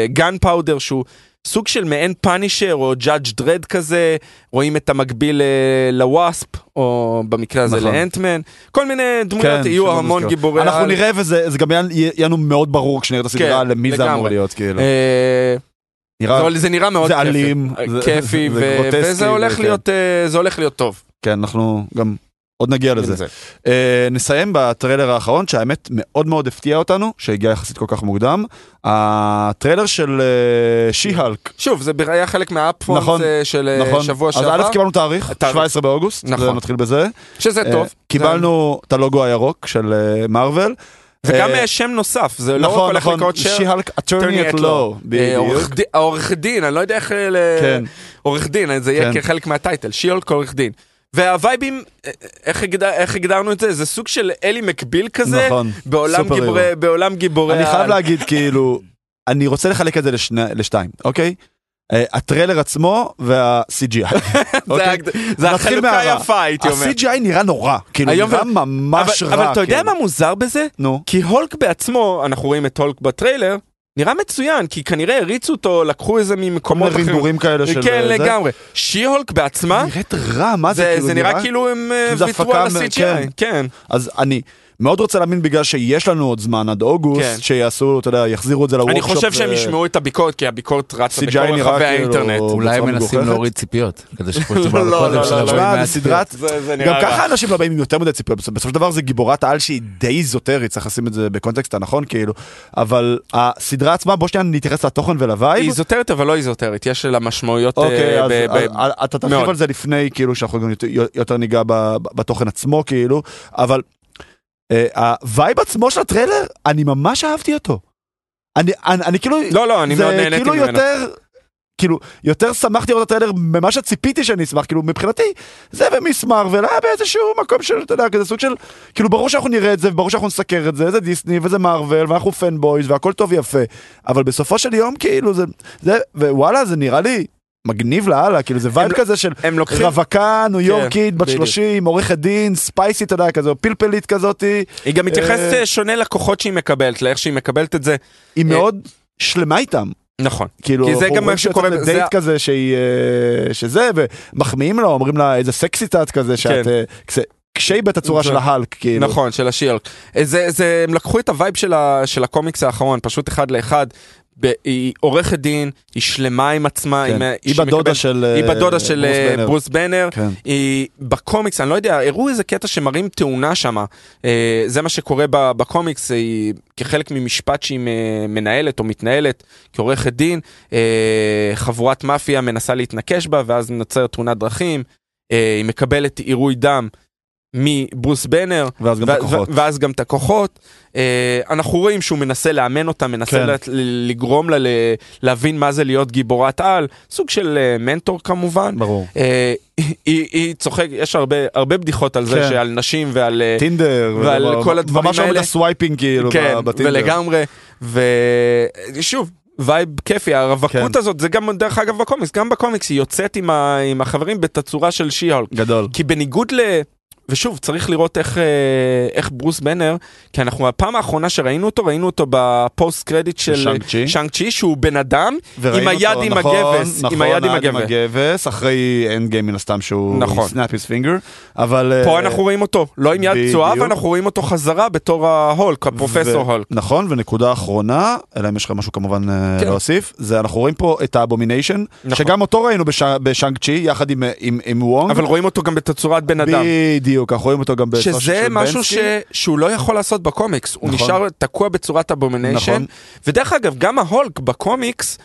גן uh, פאודר שהוא סוג של מעין פאנישר או ג'אדג' דרד כזה, רואים את המקביל uh, לוואספ, או במקרה הזה
נכון.
לאנטמן, כל מיני דמויות,
כן,
יהיו
שלא
המון
מוזכר.
גיבורי
אנחנו
על.
נראה וזה זה גם יהיה- יהיה לנו מאוד ברור כשנראה את הסדרה
כן,
למי זה
לגמרי.
אמור להיות כאילו.
אה,
נראה-
זה, זה נראה מאוד
זה
כיפי. אה,
אלים, זה-
כיפי,
זה
ו-
גרוטסקי, כן.
וזה הולך
וכן.
להיות, אה, זה הולך להיות טוב.
כן אנחנו גם עוד נגיע לזה.
זה.
אה, נסיים בטריילר האחרון שהאמת מאוד מאוד הפתיע אותנו שהגיע יחסית כל כך מוקדם. הטריילר של אה, שי-הלק.
שוב, זה ב- היה חלק מהאפפורט
נכון,
של אה,
נכון,
שבוע
אז
שעבר,
א' קיבלנו תאריך,
התאריך.
17 באוגוסט,
נכון.
זה נתחיל בזה.
שזה
אה,
טוב.
קיבלנו את הלוגו הירוק של מארוול.
וגם אה, שם נוסף, זה לא רק
נכון,
הולך
נכון,
לקרות שם.
שי-הלק, attorney
Attorney
at
at
law, אוקיי.
Law. אה,
בדיוק.
עורך די- העורך דין, אני לא יודע איך... אה, ל-
כן.
עורך דין, אז זה יהיה
כן.
כחלק מהטייטל, שיולק עורך דין. והווייבים, אה, איך הגד- איך הגדרנו את זה? זה סוג של אלי מקביל כזה,
נכון,
בעולם
סופר
גיבורי-
הירו.
בעולם גיבורי...
אני חייב
העל.
להגיד כאילו אני רוצה לחלק את זה לשני- לשתיים אוקיי אה, הטריילר עצמו וה-CGI.
זה
אוקיי?
הג- זה
נתחיל
החלוקה
מהרע.
היפה, הייתי אומר.
ה-CGI נראה נורא כאילו
היום
נראה
ו-
ממש
אבל-
רע.
אבל אתה יודע
כאילו.
מה מוזר בזה?
נו.
כי הולק בעצמו, אנחנו רואים את הולק בטריילר, נראה מצוין, כי כנראה הריצו אותו, לקחו איזה
כל מיני
ממקומות אחרים.
רינדורים כאלה של...
כן,
אה, זה.
לגמרי. שי-הולק בעצמה,
נראית רע מה זה
זה
כאילו
זה נראה כאילו הם אה,
כאילו זה
ויתרו
הפקה
על
מ-
ה-CGI.
כן.
כן.
אז אני. מאוד רוצה להאמין בגלל שיש לנו עוד זמן עד
כן.
אוגוסט, שיעשו, אתה יודע, יחזירו את זה
אני
לוורקשופ.
חושב שהם
ו-
ישמעו את הביקורת, כי הביקורת רצה
CGI
בכל
נראה
רחבי
כאילו-
האינטרנט.
אולי
בצורה
מנסים
מגוחכת.
להוריד ציפיות, כדי שפה יצאו
לא, לא,
בקודם
לא,
של
לא,
הדברים
תשמע,
מעט
זה סדרת...
זה זה
גם
נראה רע.
ככה אנשים לא באים עם יותר מדי ציפיות, בסופ- בסופו של דבר זה גיבורת על שהיא די איזוטרית, צריך לשים את זה בקונטקסט הנכון כאילו, אבל הסדרה עצמה, בוא שנייה נתייחס לתוכן
היא
ולווייב.
איזוטרית, אבל לא איזוטרית, יש לה משמעויות... אה,
אוקיי, אז
ב- ב-
אז- אז אתה תרחיב
מאוד.
על זה לפני, כאילו, שאנחנו גם יותר- יותר ניגע ב- ב- בתוכן עצמו, כאילו, אבל אה, הווייב עצמו של הטריילר, אני ממש אהבתי אותו. אני, אני, אני כאילו,
לא, לא, אני מאוד
זה
נהניתי
כאילו
ממנו.
יותר, כאילו, יותר שמחתי לראות את הטריילר ממה שציפיתי שאני אשמח, כאילו מבחינתי, זה ומיס מרוויל היה באיזשהו מקום של, אתה יודע, כזה סוג של, כאילו ברור שאנחנו נראה את זה, וברור שאנחנו נסקר את זה, זה דיסני וזה מרוויל, ואנחנו פנבויז, והכל טוב ויפה, אבל בסופו של יום, כאילו, זה, זה, ווואלה, זה נראה לי מגניב לאללה, כאילו זה וייב
לא-
כזה של
הם לוקחים, כן,
רווקה, ניו יורקית, בת
בדיוק.
30, עורכת דין, ספייסית, אתה יודע, כזו, פלפלית כזאתי,
היא גם מתייחסת
אה,
אה, שונה לכוחות שהיא מקבלת, לאיך שהיא מקבלת את זה.
היא
אה,
מאוד שלמה איתם.
נכון.
כאילו,
כי זה
אנחנו
גם
רואים
מה
שהיא
שקורה-
יוצאת
זה
לדייט
ה-
כזה שהיא, אה, שזה, ומחמיאים לה, אומרים לה איזה סקסית את כזה, שאת,
כן.
אה, כש- כשהיא בתצורה
זה-
של ההלק, כאילו.
נכון, של השיאלק. זה, זה, הם לקחו את הווייב של, ה, של הקומיקס האחרון, פשוט אחד לאחד. ב, היא עורכת דין, היא שלמה עם עצמה,
כן.
עם, ה-
היא
שהיא
בדודה
מקבלת-
של
היא
אה,
בדודה של
ברוס
אה,
בנר.
ברוס בנר.
כן.
היא בקומיקס, אני לא יודע, הראו איזה קטע שמראים תאונה שם. אה, זה מה שקורה ב- בקומיקס, אה, היא כחלק ממשפט שהיא מ- מנהלת או מתנהלת כעורכת דין, אה, חבורת מאפיה מנסה להתנקש בה, ואז נוצרת תאונת דרכים, אה, היא מקבלת עירוי דם מברוס בנר.
ואז גם
ו-
בכוחות.
ו- ואז גם את הכוחות. אה, אנחנו רואים שהוא מנסה לאמן אותה, מנסה
כן.
לת- ל- לגרום לה ל- להבין מה זה להיות גיבורת על, סוג של אה, מנטור כמובן.
ברור.
אה, היא- היא היא צוחק, יש הרבה הרבה בדיחות על זה
כן.
שעל נשים ועל... אה,
טינדר,
ועל
וזה,
כל הדברים
ממש אוהב את
האלה.
הסווייפינג כאילו,
כן,
ב- בטינדר.
ולגמרי, ושוב. וייב כיפי, הרווקות
כן.
הזאת, זה גם דרך אגב בקומיקס, גם בקומיקס היא יוצאת עם, ה, עם החברים בתצורה של שי-הולק.
גדול.
כי בניגוד ל... ושוב, צריך לראות איך, אה, איך ברוס בנר, כי אנחנו הפעם האחרונה שראינו אותו, ראינו אותו בפוסט קרדיט של
שאנג צ'י.
שאנג צ'י, שהוא בן אדם עם
וראינו
היד
אותו,
עם
נכון,
הגבס,
נכון,
עם היד עם
עם
הגבס.
הגבס, אחרי אנד גיים מן הסתם שהוא
נכון.
snap his finger, אבל...
פה
אה,
אנחנו רואים אותו, לא עם יד פצועה,
בדיוק.
ואנחנו רואים אותו חזרה בתור ההולק, הפרופסור
ו-
הולק.
נכון, ונקודה אחרונה, אלא אם יש לך משהו כמובן אה,
כן.
להוסיף, זה אנחנו רואים פה את האבומיניישן,
נכון.
שגם אותו ראינו בש- בשאנג צ'י, יחד עם- אה, עם עם וונג.
אבל רואים אותו גם בתצורת בן אדם.
בדיוק, אנחנו רואים אותו גם בסושיו
שזה
של
משהו ש...
בנסקי.
שהוא לא יכול לעשות בקומיקס, הוא
נכון.
נשאר תקוע בצורת אבומיניישן,
נכון.
ודרך אגב, גם ההולק בקומיקס,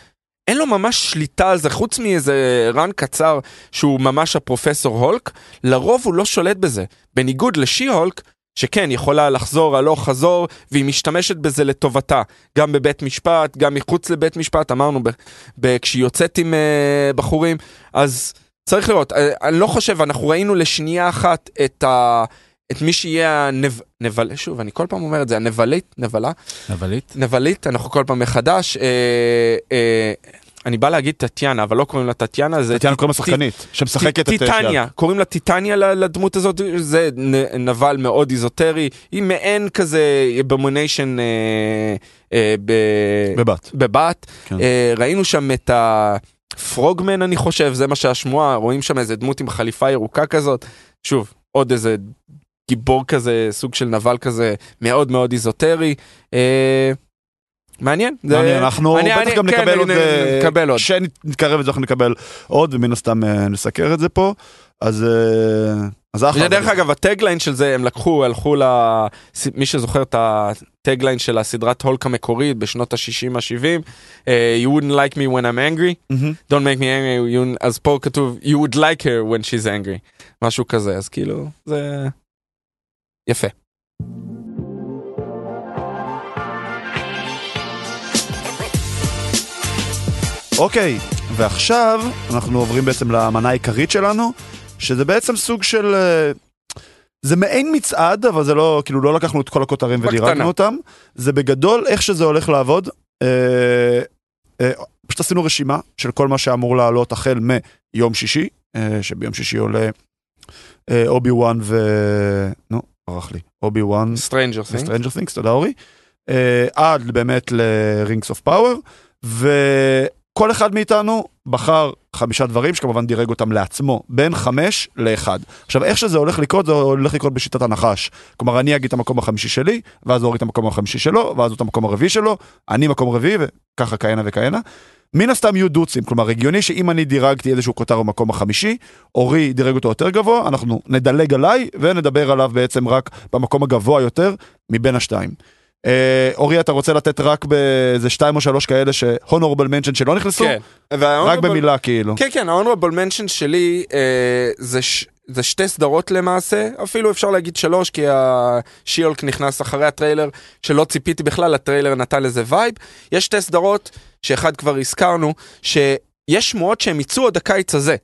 אין לו ממש שליטה על זה, חוץ מאיזה רן קצר שהוא ממש הפרופסור הולק, לרוב הוא לא שולט בזה. בניגוד לשי הולק, שכן, יכולה לחזור הלוך חזור, והיא משתמשת בזה לטובתה. גם בבית משפט, גם מחוץ לבית משפט, אמרנו, ב- ב- כשהיא יוצאת עם אה, בחורים, אז צריך לראות. אה, אני לא חושב, אנחנו ראינו לשנייה אחת את ה... את מי שיהיה הנבל... שוב, אני כל פעם אומר את זה, הנבלית, נבלה,
נבלית?
נבלית, אנחנו כל פעם מחדש. אה, אה, אני בא להגיד טטיאנה, אבל לא קוראים לה טטיאנה, זה
טטיאנה
ט-
קוראים
ט-
לשחקנית, שמשחקת את... אה,
טיטניה, קוראים לה טיטניה ל- לדמות הזאת, זה נ- נבל מאוד איזוטרי, היא מעין כזה במוניישן אה, אה, ב-
שיאל. בבת.
בבת.
כן.
אה, ראינו שם את הפרוגמן, אני חושב, זה מה שהשמועה, רואים שם איזה דמות עם חליפה ירוקה כזאת. שוב, עוד איזה גיבור כזה, סוג של נבל כזה, מאוד מאוד איזוטרי. אה, מעניין. זה-
מעניין, אנחנו
אני-
בטח
אני-
גם
כן,
נקבל עוד,
נ-
אה,
נקבל עוד.
כשנתקרב לזה אנחנו נקבל עוד, ומן הסתם אה, נסקר את זה פה, אז... אה, אז אחלה.
דרך אגב, הטגליין של זה, הם לקחו, הלכו ל... מי שזוכר את הטגליין של הסדרת הולק המקורית בשנות ה-60, ה-70, אה, you wouldn't like me when I'm angry.
מהמם.
Don't make me angry, you... אז פה כתוב you would like her when she's angry, משהו כזה, אז כאילו, זה... יפה.
אוקיי, ועכשיו אנחנו עוברים בעצם למנה העיקרית שלנו, שזה בעצם סוג של... אה, זה מעין מצעד, אבל זה לא, כאילו לא לקחנו את כל הכותרים
בקטנה.
ודירגנו אותם. זה בגדול איך שזה הולך לעבוד. אה, אה, פשוט עשינו רשימה של כל מה שאמור לעלות החל מיום שישי, אה, שביום שישי עולה אה, אובי וואן ו... נו, ברח לי. אובי וואן
Stranger Things.
Stranger Things, תודה אורי. אה, עד באמת ל-Rings of Power, וכל אחד מאיתנו בחר חמישה דברים שכמובן דירג אותם לעצמו, בין חמש לאחד. עכשיו, איך שזה הולך לקרות, זה הולך לקרות בשיטת הנחש. כלומר, אני אגיד את המקום החמישי שלי, ואז אורי את המקום החמישי שלו, ואז הוא את המקום הרביעי שלו, אני מקום רביעי, וככה כהנה וכהנה. מן הסתם יהיו דוצים, כלומר הגיוני שאם אני דירגתי איזשהו כותר במקום החמישי, אורי דירג אותו יותר גבוה, אנחנו נדלג עליי ונדבר עליו בעצם רק במקום הגבוה יותר מבין השתיים. אה, אורי, אתה רוצה לתת רק באיזה שתיים או שלוש כאלה שהונורבל מנשן שלא נכנסו?
כן.
רק
וה-honorable-
במילה כאילו.
כן, כן, ה-honorable mention שלי אה, זה ש- זה שתי סדרות למעשה, אפילו אפשר להגיד שלוש, כי השיולק נכנס אחרי הטריילר, שלא ציפיתי בכלל, הטריילר נתן לזה וייב. יש שתי סדרות, שאחד כבר הזכרנו, שיש שמועות שהם יצאו עוד הקיץ הזה.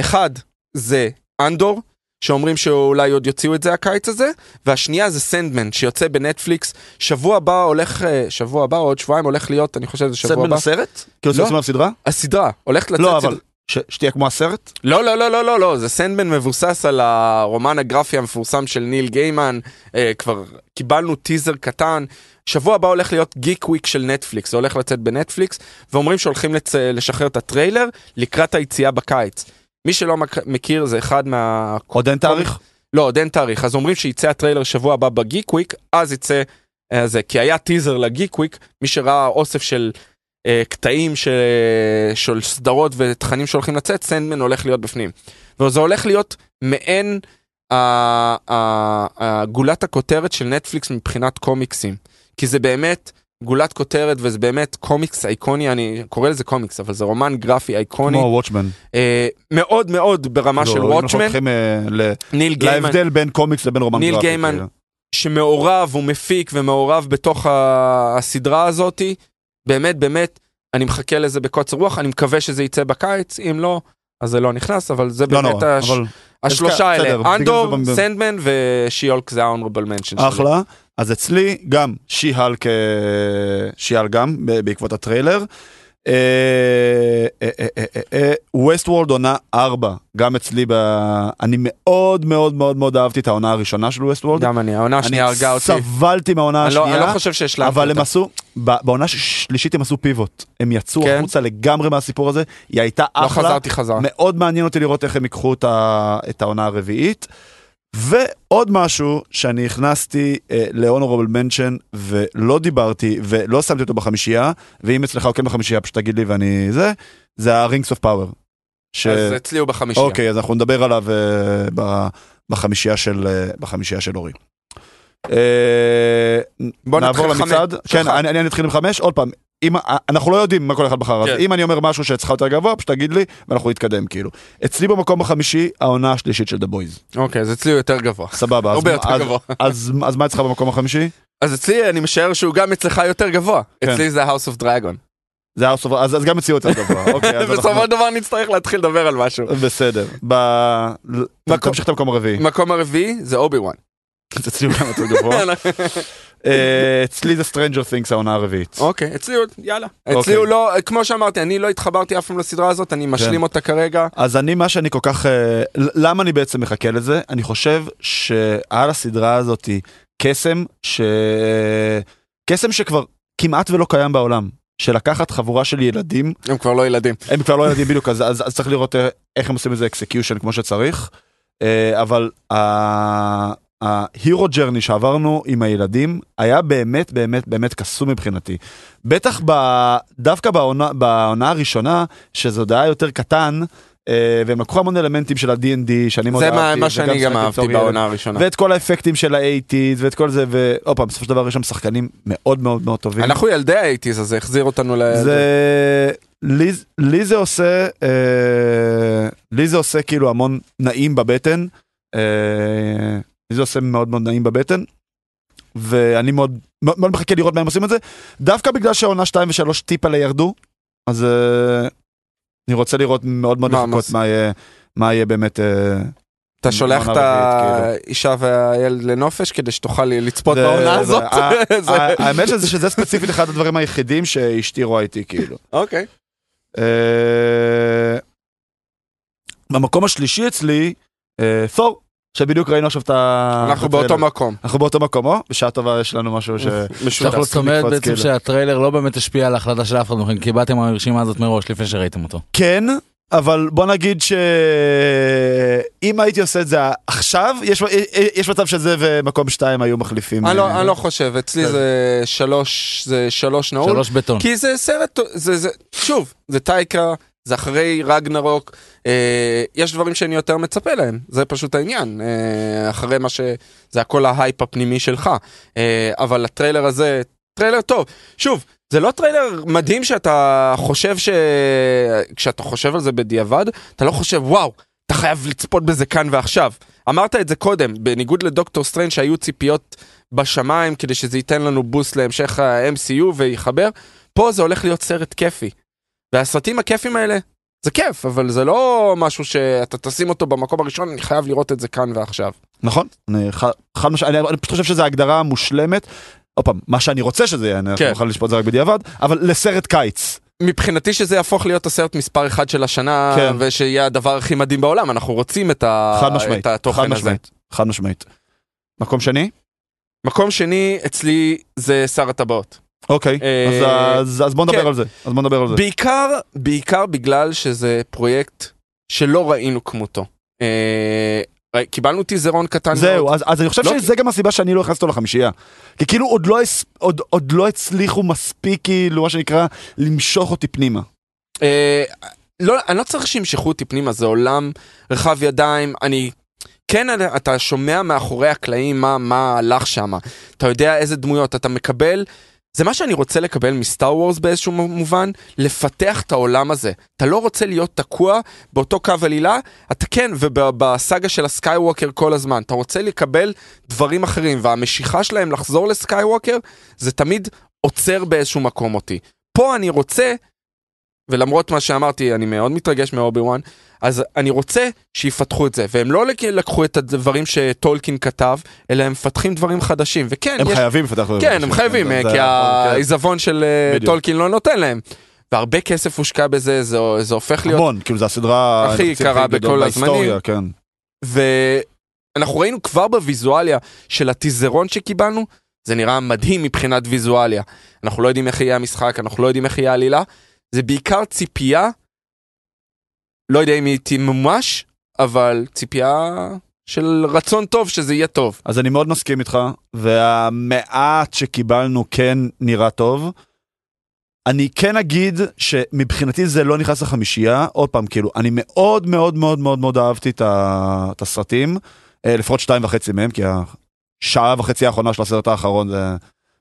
אחד זה אנדור, שאומרים שאולי עוד יוציאו את זה הקיץ הזה, והשנייה זה סנדמן, שיוצא בנטפליקס, שבוע הבא הולך, אה, שבוע הבא או עוד שבועיים הולך להיות, אני חושב שזה שבוע
סדמן
הבא,
הסרט? כאילו
לא.
עושים עליו סדרה?
הסדרה, הולכת לצאת
לא,
סדרה.
אבל ש- שתהיה כמו הסרט?
לא, לא, לא, לא, לא, לא, זה סנדמן מבוסס על הרומן הגרפי המפורסם של ניל גיימן, אה, כבר קיבלנו טיזר קטן. שבוע הבא הולך להיות גיק וויק של נטפליקס, זה הולך לצאת בנטפליקס, ואומרים שהולכים לצ... לשחרר את הטריילר לקראת היציאה בקיץ. מי שלא מק- מכיר זה אחד מה...
עוד אין תאריך?
לא, עוד אין תאריך, אז אומרים שיצא הטריילר שבוע הבא בגיק וויק, אז יצא אה, זה, כי היה טיזר לגיק וויק, מי שראה אוסף של אה, קטעים של, של סדרות ותכנים שהולכים לצאת, סנדמן הולך להיות בפנים. וזה הולך להיות מעין אה, אה, אה, גולת הכותרת של נטפליקס מבחינת קומיקסים, כי זה באמת... גולת כותרת וזה באמת קומיקס אייקוני אני קורא לזה קומיקס אבל זה רומן גרפי
כמו
אייקוני
לא, כאילו, וואטשמן.
אה, מאוד מאוד ברמה של וואטשמן ניל גיימן
אה, להבדל בין קומיקס לבין רומן
ניל
גרפי.
גיימן.
כאילו.
שמעורב, הוא מפיק ומעורב בתוך ה- הסדרה הזאתי. באמת, באמת, אני מחכה לזה בקוצר רוח, אני מקווה שזה יצא בקיץ, אם לא, אז זה לא נכנס, אבל זה
לא
באמת
נורא,
הש...
אבל
השלושה
בסדר, בגלל
האלה, אנדור,
זה במ-
סנדמן ושיולק זה ה-honorable mention שלי.
אחלה. אז אצלי גם שיהלק, אה, שיהל גם ב- בעקבות הטריילר. אה, ווסט וורד אה, עונה 4, גם אצלי, ב... אני מאוד מאוד מאוד מאוד אהבתי את העונה הראשונה של ווסט וורד.
גם אני, העונה
אני
השנייה הרגה אותי.
סבלתי מהעונה
אני לא- אני לא
השנייה,
חושב שהשלמתי
אבל הם
אותה.
עשו, ב- בעונה השלישית הם עשו פיבוט. הם יצאו
כן.
החוצה לגמרי מהסיפור הזה, היא הייתה
לא
אחלה.
חזרתי חזרה.
מאוד מעניין אותי לראות איך הם ייקחו את, ה... את העונה הרביעית. ועוד משהו שאני הכנסתי אה, ל-Honorable Mention ולא דיברתי ולא שמתי אותו בחמישייה, ואם אצלך הוא כן בחמישייה פשוט תגיד לי ואני זה, זה ה-Rings of Power. ש...
אז אצלי הוא בחמישייה.
אוקיי, אז אנחנו נדבר עליו אה, ב... בחמישייה של, אה, בחמישייה של אורי. אה,
בוא
נעבור
נתחיל חמש.
למצעד.
שלך.
כן, אני, אני אתחיל עם חמש, עוד פעם. אם, אנחנו לא יודעים מה כל אחד בחר,
כן.
אז אם אני אומר משהו שאצלך יותר גבוה, פשוט תגיד לי, ואנחנו נתקדם כאילו. אצלי במקום החמישי, העונה השלישית של דה בויז.
אוקיי, אז אצלי הוא יותר גבוה.
סבבה. אז-
הרבה יותר
אז-
גבוה.
אז אז מה אצלך במקום החמישי?
אז אצלי, אני משער שהוא גם אצלך יותר גבוה.
כן.
אצלי זה ה-house of dragon.
זה הארס אז אז גם אצלי יותר גבוה. אוקיי, אז
בסופו
אנחנו...
של דבר נצטרך להתחיל לדבר על משהו.
בסדר. ב- תמשיך את המקום הרביעי.
מקום הרביעי זה אובי וואן.
אז אצלי הוא גם יותר גבוה. אה, אצלי זה Stranger Things העונה הרביעית.
אוקיי, אצלי הוא, יאללה.
אוקיי.
אצלי הוא לא, כמו שאמרתי, אני לא התחברתי אף פעם לסדרה הזאת, אני משלים אותה כרגע.
אז אני מה שאני כל כך אה, למה אני בעצם מחכה לזה אני חושב שעל הסדרה הזאת קסם ש... קסם שכבר כמעט ולא קיים בעולם שלקחת חבורה של ילדים
הם כבר לא ילדים.
הם כבר לא ילדים בדיוק אז, אז, אז צריך לראות אה, איך הם עושים את זה אקסקיושן כמו שצריך אה, אבל ההירו ג'רני שעברנו עם הילדים היה באמת באמת באמת קסום מבחינתי בטח ב, דווקא בעונה, בעונה הראשונה שזו דעה יותר קטן. אה, והם לקחו המון אלמנטים של ה-D&D שאני מאוד
זה מה-
אהבתי,
מה
וגם
שאני גם
שיחקתי
אהבתי
בתור ילד.
בעונה הראשונה.
ואת כל האפקטים של ה-80's ואת כל זה ועוד פעם בסופו של דבר יש שם שחקנים מאוד מאוד מאוד טובים.
אנחנו ילדי האייטיז, אז זה החזיר אותנו ל...
זה לי, לי זה עושה אה, לי זה עושה כאילו המון נעים בבטן אה, לי זה עושה מאוד מאוד נעים בבטן ואני מאוד מאוד מאוד מחכה לראות מה הם עושים את זה דווקא בגלל שהעונה 2 ו3 טיפה לירדו אז אה, אני רוצה לראות מאוד מאוד
מה,
לחכות
מה-
מה יהיה מה יהיה באמת אה,
אתה שולח את
בעונה הרביעית, כאילו.
האישה והילד לנופש כדי שתוכל לצפות
זה-
בעונה
זה-
הזאת.
ה-
זה-
ה- האמת שזה שזה ספציפית אחד הדברים היחידים שהשתירו איתי כאילו.
אוקיי.
אה, במקום השלישי אצלי, אה, תור, שבדיוק ראינו עכשיו את ה...
אנחנו
את הטריילר.
באותו מקום.
אנחנו באותו מקום, או? בשעה טובה יש לנו משהו ש...
משותף.
אנחנו
זאת
צריכים
אומרת
לקפוץ,
בעצם
כאילו.
שהטריילר לא באמת השפיע על ההחלטה של אף אחד מכם, קיבלתם מהרשימה הזאת מראש לפני שראיתם אותו.
כן, אבל בוא נגיד ש... אם הייתי עושה את זה עכשיו, יש- יש מצב שזה ומקום שתיים היו מחליפים.
אני
אה,
לא- אני לא חושב, אצלי זה שלוש, זה שלוש נעול.
שלוש בטון.
כי זה סרט, זה, זה, שוב, זה טייקה, זה אחרי רגנרוק, אה, יש דברים שאני יותר מצפה להם, זה פשוט העניין, אה, אחרי מה ש... זה הכל ההייפ הפנימי שלך, אה, אבל הטריילר הזה, טריילר טוב. שוב, זה לא טריילר מדהים שאתה חושב ש... כשאתה חושב על זה בדיעבד, אתה לא חושב, וואו, אתה חייב לצפות בזה כאן ועכשיו. אמרת את זה קודם, בניגוד לדוקטור סטריין שהיו ציפיות בשמיים כדי שזה ייתן לנו בוסט להמשך ה-MCU ויחבר, פה זה הולך להיות סרט כיפי. והסרטים הכיפים האלה, זה כיף, אבל זה לא משהו שאתה תשים אותו במקום הראשון, אני חייב לראות את זה כאן ועכשיו.
נכון, אני ח- חד משמעית, אני אני פשוט חושב שזו הגדרה מושלמת. עוד פעם, מה שאני רוצה שזה יהיה, אני
כן.
יכול לשפוט את זה רק בדיעבד, אבל לסרט קיץ.
מבחינתי שזה יהפוך להיות הסרט מספר אחד של השנה,
כן.
ושיהיה הדבר הכי מדהים בעולם, אנחנו רוצים את, ה...
חד משמעית,
את התוכן
חד
הזה.
משמעית, חד משמעית. מקום שני?
מקום שני אצלי זה שר הטבעות.
אוקיי,
אה,
אז ה- אז אז בוא
כן.
נדבר על זה, אז בוא נדבר על זה.
בעיקר, בעיקר בגלל שזה פרויקט שלא ראינו כמותו. אה, ראי- קיבלנו טיזרון קטן
זהו, אז, אז אני חושב
לא
שזה גם הסיבה שאני לא הכנסתי אותו לחמישייה. כי כאילו עוד לא, הס- עוד, עוד לא הצליחו מספיק, כאילו, מה שנקרא, למשוך אותי פנימה.
אה, לא, אני לא צריך שימשכו אותי פנימה, זה עולם רחב ידיים, אני... כן, אני- אתה שומע מאחורי הקלעים מה, מה הלך שם, אתה יודע איזה דמויות אתה מקבל, זה מה שאני רוצה לקבל מסטאר וורס באיזשהו מובן, לפתח את העולם הזה. אתה לא רוצה להיות תקוע באותו קו עלילה, אתה כן, ובסאגה של הסקייווקר כל הזמן, אתה רוצה לקבל דברים אחרים, והמשיכה שלהם לחזור לסקייווקר, זה תמיד עוצר באיזשהו מקום אותי. פה אני רוצה ולמרות מה שאמרתי, אני מאוד מתרגש מאובי וואן, אז אני רוצה שיפתחו את זה. והם לא לק- לקחו את הדברים שטולקין כתב, אלא הם מפתחים דברים חדשים. וכן,
הם
יש...
חייבים לפתח את
כן, הם חייבים, אה, כי העיזבון של אה,
כן. בדיוק.
טולקין לא נותן להם. והרבה כסף הושקע בזה, זה, זה הופך להיות...
המון, כאילו, זו הסדרה...
הכי
הנוכחית
יקרה
גדול
בכל
בהיסטוריה,
הזמנים.
כן.
ואנחנו ראינו כבר בוויזואליה של הטיזרון שקיבלנו, זה נראה מדהים מבחינת ויזואליה. אנחנו לא יודעים איך יהיה המשחק, אנחנו לא יודעים איך יהיה העלילה. זה בעיקר ציפייה, לא יודע אם היא תמומש, אבל ציפייה של רצון טוב שזה יהיה טוב.
אז אני מאוד מסכים איתך, והמעט שקיבלנו כן נראה טוב. אני כן אגיד שמבחינתי זה לא נכנס לחמישייה, עוד פעם, כאילו, אני מאוד מאוד מאוד מאוד מאוד אהבתי את, ה... את הסרטים, אה, לפחות שתיים וחצי מהם, כי השעה וחצי האחרונה של הסרט האחרון זה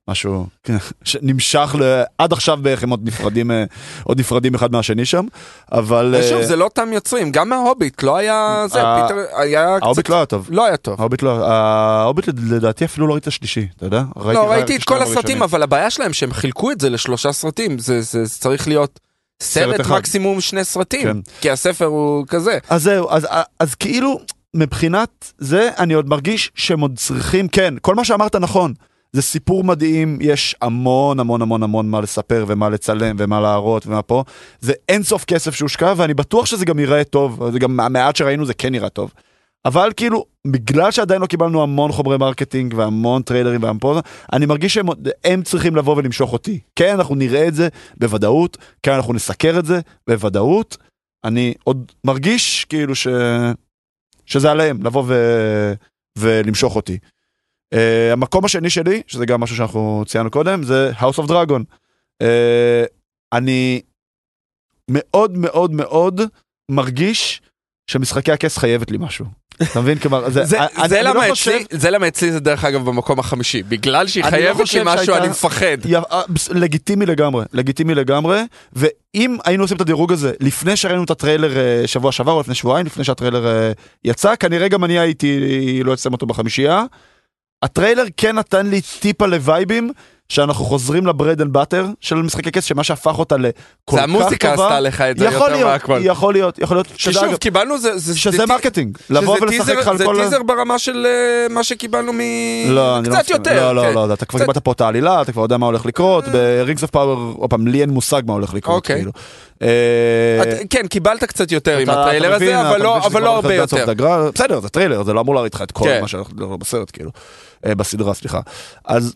משהו כן, שנמשך ל... עד עכשיו בערך הם עוד נפרדים, אה, עוד נפרדים אחד מהשני שם, אבל...
ושוב,
אה,
זה לא אותם יוצרים, גם מההוביט לא היה... זה,
ה-
פיטר היה
ההוביט
קצת...
לא היה טוב.
לא היה טוב.
ההוביט לא, ההוביט לדעתי אפילו לא ראיתי את השלישי, אתה יודע?
לא,
רק
ראיתי
שניים
את כל הסרטים,
הראשונים.
אבל הבעיה שלהם שהם חילקו את זה לשלושה סרטים, זה, זה, זה צריך להיות
סרט
סרט
אחד.
מקסימום שני סרטים,
כן.
כי הספר הוא כזה.
אז זהו, אז, אז כאילו, מבחינת זה, אני עוד מרגיש שהם עוד צריכים, כן, כל מה שאמרת נכון. זה סיפור מדהים, יש המון המון המון המון מה לספר ומה לצלם ומה להראות ומה פה. זה אין סוף כסף שהושקע ואני בטוח שזה גם ייראה טוב, זה גם המעט שראינו זה כן נראה טוב. אבל כאילו, בגלל שעדיין לא קיבלנו המון חומרי מרקטינג והמון טריילרים והמון פה, אני מרגיש שהם עוד- הם צריכים לבוא ולמשוך אותי. כן, אנחנו נראה את זה בוודאות, כן, אנחנו נסקר את זה בוודאות. אני עוד מרגיש כאילו ש... שזה עליהם, לבוא ו... ולמשוך אותי. Uh, המקום השני שלי, שזה גם משהו שאנחנו ציינו קודם, זה House of Dragon. Uh, אני מאוד מאוד מאוד מרגיש שמשחקי הכס חייבת לי משהו. אתה מבין? כלומר, זה,
זה,
אני-
זה,
אני לא
למה
חושב-
אצלי, זה למה אצלי זה דרך אגב במקום החמישי, בגלל שהיא
אני לא
חייבת לי
חושב
משהו
שהייתה-
אני מפחד.
י- אה, בס- לגיטימי לגמרי, לגיטימי לגמרי, ואם היינו עושים את הדירוג הזה לפני שראינו את הטריילר אה, שבוע שעבר או לפני שבועיים, לפני שהטריילר אה, יצא, כנראה גם אני הייתי, לא אצלם אותו בחמישייה. הטריילר כן נתן לי טיפה לווייבים, שאנחנו חוזרים לברד אנד באטר של משחקי כס, שמה שהפך אותה לכל כך טובה.
זה המוזיקה עשתה לך את זה
יכול
יותר
להיות,
מהכל.
יכול להיות, יכול להיות,
כי
שזה
שוב,
אגב-
קיבלנו זה... זה
שזה
זה טי-
מרקטינג,
שזה
לבוא ולשחק
טיזר-
לך על
זה
כל... ה-
טיזר ברמה של אה, מה שקיבלנו מ...
לא, אני לא
קצת
מסכים.
יותר.
לא, לא,
כן.
לא, אתה כבר
קצת- אה.
קיבלת פה את העלילה, אתה כבר יודע מה הולך לקרות, ברינגס אוף פאוור, עוד פעם, לי אין מושג מה הולך לקרות,
אוקיי.
כאילו. אה,
את- כן, קיבלת קצת יותר עם
אתה- אתה
הטריילר
מבין,
הזה,
אתה
אבל לא-
מבין שזה
אבל
כבר
לא
הולך
הרבה
להיות
יותר.
בסוף דגרל. בסדר, זה טריילר, זה לא אמור להראות לך את כל
כן.
מה שהולך להיות בסרט, כאילו. אה, בסדרה, סליחה. אז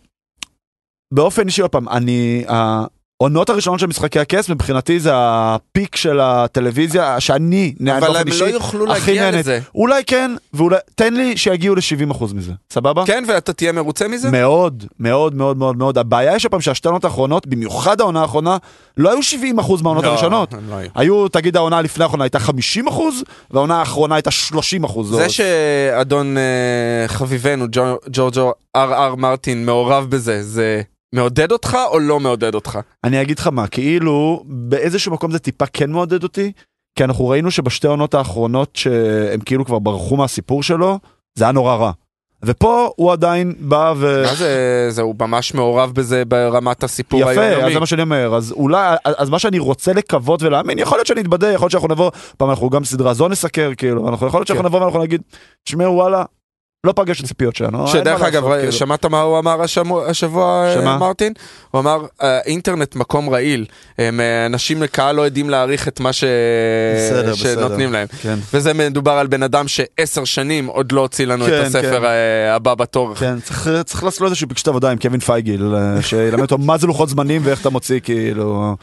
באופן אישי, עוד פעם, אני... העונות הראשונות של משחקי הכס, מבחינתי זה הפיק של הטלוויזיה, שאני נהנה
אבל
באופן
הם
אישי.
לא יוכלו
הכי
להגיע
נהנית.
לזה.
אולי כן, ואולי... תן לי שיגיעו ל-70% מזה, סבבה?
כן, ואתה תהיה מרוצה מזה?
מאוד, מאוד, מאוד, מאוד, מאוד. הבעיה היא שהפעם שהשתי עונות האחרונות, במיוחד העונה האחרונה, לא היו 70 אחוז מהעונות
לא,
הראשונות.
הם לא היו.
היו, תגיד, העונה לפני האחרונה הייתה 50 אחוז, והעונה האחרונה הייתה 30 אחוז.
זה שאדון אה, חביבנו ג'ו- ג'ורג'ו אר אר מרטין מעורב בזה, זה מעודד אותך או לא מעודד אותך?
אני אגיד לך מה, כאילו, באיזשהו מקום זה טיפה כן מעודד אותי, כי אנחנו ראינו שבשתי העונות האחרונות שהם כאילו כבר ברחו מהסיפור שלו, זה היה נורא רע. ופה הוא עדיין בא ו...
מה זה, זה, הוא ממש מעורב בזה ברמת הסיפור
יפה, אז
היומיומי.
זה מה שאני אומר, אז אולי, אז מה שאני רוצה לקוות ולהאמין, יכול להיות שנתבדה, יכול להיות שאנחנו נבוא, פעם אנחנו גם סדרה זו נסקר, כאילו, אנחנו יכול להיות שאנחנו
כן.
נבוא ואנחנו נגיד, תשמעו וואלה, לא פגש את הציפיות שלנו. אין
שדרך
מה
אגב,
לעשות,
רא-
כאילו.
שמעת מה הוא אמר השמו- השבוע, אה,
שמה?
מרטין? הוא אמר, "האינטרנט מקום רעיל, הם, אה, אנשים לקהל לא יודעים להעריך את מה ש-
בסדר, בסדר.
שנותנים להם.
כן,
וזה מדובר על בן אדם שעשר שנים עוד לא הוציא לנו
כן,
את הספר
כן.
אה, הבא בתור.
כן, צריך- צריך לעשות לו איזשהו פגשת עבודה עם קווין פייגיל, אה, שילמד אותו מה זה לוחות זמנים ואיך אתה מוציא, כאילו,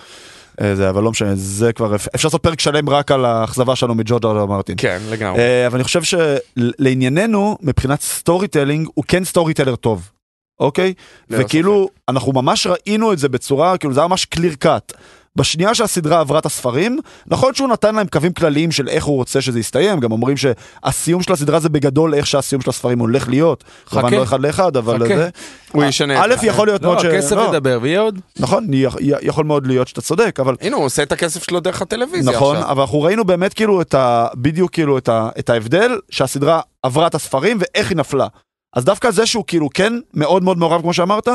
אה, זה, אבל לא משנה, זה כבר, אפ- אפשר לעשות פרק שלם רק על האכזבה שלנו מג'ורג' אר. אר מרטין.
כן, לגמרי.
אה, אבל אני חושב שלענייננו, מבחינת סטורי טלינג, הוא כן סטורי טלר טוב, אוקיי?
ללא
וכאילו, אנחנו ממש ראינו את זה בצורה, כאילו זה היה ממש קליר קאט. בשנייה שהסדרה עברה את הספרים, נכון שהוא נתן להם קווים כלליים של איך הוא רוצה שזה יסתיים, גם אומרים שהסיום של הסדרה זה בגדול איך שהסיום של הספרים הולך להיות.
חכה.
כמובן לא אחד לאחד, אבל
חכה.
זה.
הוא ישנה את
א',
זה.
יכול להיות
לא,
מאוד ש...
הכסף
לא,
ידבר ויהיה עוד.
נכון, י- י- יכול מאוד להיות שאתה צודק, אבל
הנה, הוא עושה את הכסף שלו דרך הטלוויזיה
נכון,
עכשיו.
אבל אנחנו ראינו באמת כאילו את ה... בדיוק כאילו את, ה... את ההבדל שהסדרה עברה את הספרים ואיך היא נפלה. אז דווקא זה שהוא כאילו כן מאוד מאוד מעורב כמו שאמרת,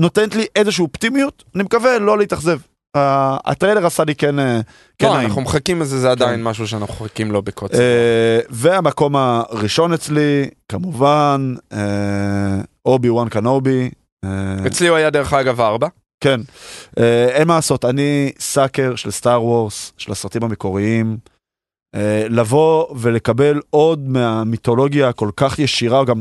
נותנת לי איזושהי אופטימיות, אני מקווה לא להתאכזב. Uh, הטריילר עשה לי כן, אה, כן
לא,
נעים.
אנחנו מחכים לזה, זה עדיין משהו שאנחנו מחכים לו בקוצר.
כן. אה, והמקום הראשון אצלי, כמובן, אה, אובי וואן קנובי. אה,
אצלי הוא היה דרך אגב ארבע.
כן, אה, אין מה לעשות, אני סאקר של סטאר וורס, של הסרטים המקוריים. אה, לבוא ולקבל עוד מהמיתולוגיה הכל כך ישירה, גם,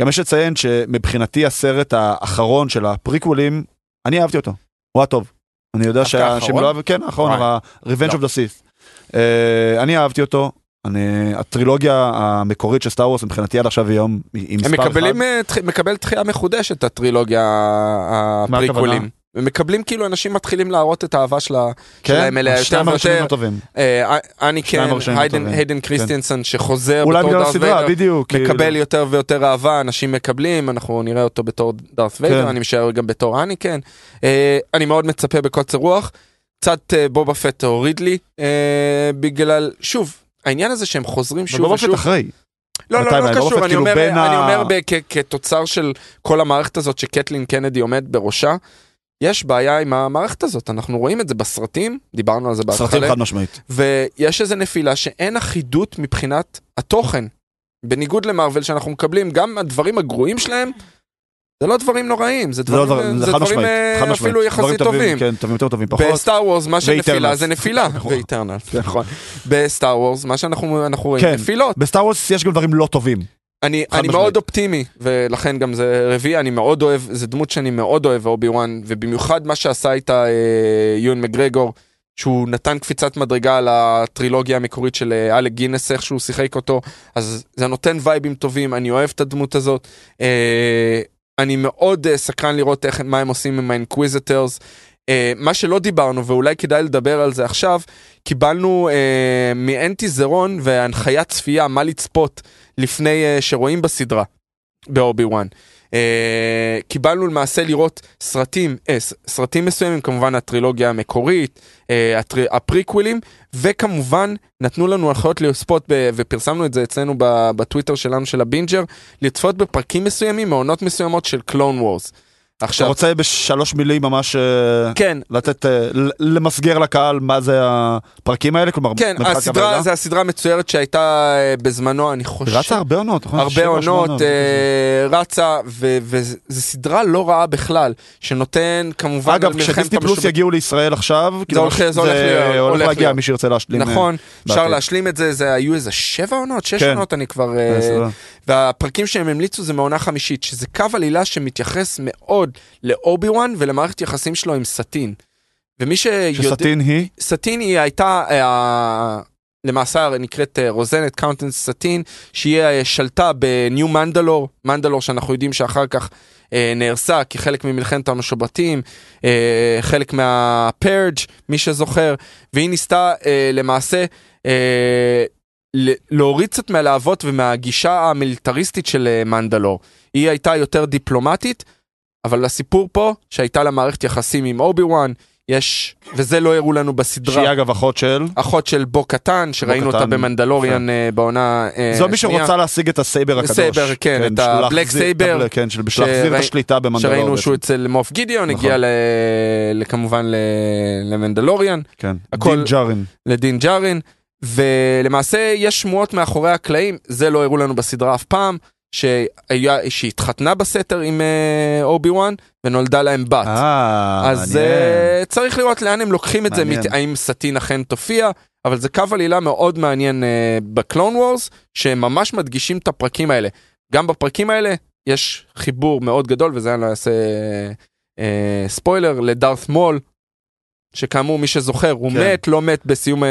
גם יש לציין שמבחינתי הסרט האחרון של הפריקוולים, אני אהבתי אותו, הוא היה טוב. אני יודע
דווקא
שהאנשים
האחרון?
לא אהבו, כן, האחרון,
וואי.
ה-Revenge
לא.
of the Sith. אה, אני אהבתי אותו, אני, הטרילוגיה המקורית של סטאר וורס מבחינתי עד עכשיו היא היום, היא היא
הם
מספר אחד.
מקבלים, אה, דחי- מקבל דחייה מחודשת הטרילוגיה
מה
הפריקולים.
הכוונה?
הם מקבלים כאילו אנשים מתחילים להראות את האהבה שלה,
כן,
שלהם אליה יותר
שניים הראשונים
ויותר.
הטובים.
אה, אני כן,
שניים הראשונים
היידן,
הטובים.
היידן
כן.
קריסטיאנסון שחוזר
אולי
בתור
בגלל
דארט
הסדרה,
ויידר,
בדיוק.
מקבל
כאילו.
יותר ויותר אהבה, אנשים מקבלים, אנחנו נראה אותו בתור דארט ויידר,
כן.
אני משער גם בתור אני כן. אה, אני מאוד מצפה בקוצר רוח, קצת אה, בובה פט הוריד לי, אה, בגלל, שוב, העניין הזה שהם חוזרים שוב
בבובה פט
ושוב,
אחרי.
לא, לא,
בטיימליין,
לא
בבובה פט
קשור, אני
כאילו
אומר,
בין
אני
ה-
אומר ב- כ- כתוצר של כל המערכת הזאת שקטלין קנדי עומד בראשה, יש בעיה עם המערכת הזאת, אנחנו רואים את זה בסרטים, דיברנו על זה
סרטים
בהתחלה,
חד משמעית.
ויש איזו נפילה שאין אחידות מבחינת התוכן. בניגוד למרוויל שאנחנו מקבלים, גם הדברים הגרועים שלהם, זה לא דברים נוראים, זה
זה לא
דברים,
דבר, זה
זה
חד
דברים
משמעית.
אה,
חד משמעית.
אפילו יחסית
דברים
טובים.
כן, טובים יותר טובים פחות.
בסטאר וורס מה שנפילה
ואיטרנלס.
זה נפילה,
נכון.
ואיטרנל, נכון. בסטאר וורס מה שאנחנו אנחנו רואים,
כן.
נפילות.
בסטאר וורס יש גם דברים לא טובים.
אני,
חד
אני
משמעית.
מאוד אופטימי, ולכן גם זה רביעי, אני מאוד אוהב, זו דמות שאני מאוד אוהב, אובי וואן, ובמיוחד מה שעשה איתה אה, יון מגרגור, שהוא נתן קפיצת מדרגה על הטרילוגיה המקורית של אה, אלק גינס, איך שהוא שיחק אותו, אז זה נותן וייבים טובים, אני אוהב את הדמות הזאת. אה, אני מאוד אה, סקרן לראות איך, מה הם עושים עם האינקוויזיטרס. אה, מה שלא דיברנו, ואולי כדאי לדבר על זה עכשיו, קיבלנו אה, מאנטי זרון והנחיית צפייה מה לצפות לפני אה, שרואים בסדרה באובי וואן. אה, קיבלנו למעשה לראות סרטים, אה, ס- סרטים מסוימים, כמובן הטרילוגיה המקורית, אה, הטר, הפריקווילים, וכמובן נתנו לנו הנחיות לצפות, ב, ופרסמנו את זה אצלנו ב, בטוויטר שלנו של הבינג'ר, לצפות בפרקים מסוימים, מעונות מסוימות של קלון וורס.
אתה
עכשיו,
רוצה בשלוש מילים ממש אה,
כן,
לתת, אה, ל- למסגר לקהל מה זה הפרקים האלה? כלומר,
כן,
מבחינת
הסדרה,
כוונה?
זה הסדרה המצוירת שהייתה אה, בזמנו, אני חושב...
רצה הרבה עונות, נכון?
הרבה
שבע, שמונה
עונות, אה, רצה, וזו סדרה לא רעה בכלל, שנותן כמובן... על
אה, אגב,
מלחמת
כשדיסני פלוס
המשובט-
יגיעו לישראל עכשיו, כאילו,
הולך- זה הולך
זה
להיות-
הולך
הולך
להגיע,
להיות.
מי שירצה להשלים. אה,
נכון, אפשר
בעתיד.
להשלים את זה, זה היו איזה שבע עונות, שש
כן.
עונות, אני כבר... אה,
את הסדרה.
והפרקים שהם המליצו זה מעונה חמישית, שזה קו עלילה שמתייחס מאוד לאובי וואן ולמערכת יחסים שלו עם סטין. ומי שיודע...
אה, שסטין היא?
סטין היא הייתה אה, למעשה נקראת אה, רוזנת קאונטנס סטין שהיא אה, שלטה בניו מנדלור מנדלור שאנחנו יודעים שאחר כך אה, נהרסה כחלק ממלחמת המשובטים אה, חלק מהפרג' מי שזוכר והיא ניסתה אה, למעשה אה, ל- להוריד קצת מהלהבות ומהגישה המיליטריסטית של אה, מנדלור היא הייתה יותר דיפלומטית אבל הסיפור פה שהייתה לה מערכת יחסים עם אובי וואן יש, וזה לא הראו לנו בסדרה,
שהיא אגב אחות של...
אחות של בו קטן, שראינו
קטן,
אותה במנדלוריאן אה, בעונה אה,
זו מי
השנייה,
שרוצה להשיג את הסייבר הקדוש.
סייבר, כן, את
של
ה-Black
להחזיר-
Saber,
את ה- כן, של בשביל
שראי-
להחזיר את השליטה במנדלור.
שראינו שהוא
בעצם.
אצל מוף גידיון,
נכון.
הגיע ל- ל- כמובן ל- למנדלוריאן,
כן,
הכל-
דין ג'ארין.
לדין ג'ארין, ולמעשה יש שמועות מאחורי הקלעים, זה לא הראו לנו בסדרה אף פעם, שהיה, שהתחתנה בסתר עם אה, אובי וואן, ונולדה להם בת.
אה,
אז
מעניין.
uh, צריך לראות לאן הם לוקחים את זה,
מעניין.
מת, האם סטין אכן תופיע, אבל זה קו עלילה מאוד מעניין uh, בקלון וורס, שהם ממש מדגישים את הפרקים האלה. גם בפרקים האלה יש חיבור מאוד גדול, וזה אני לא אעשה uh, ספוילר, לדארת מול, שכאמור מי שזוכר, הוא
כן.
מת, לא מת בסיום... Uh,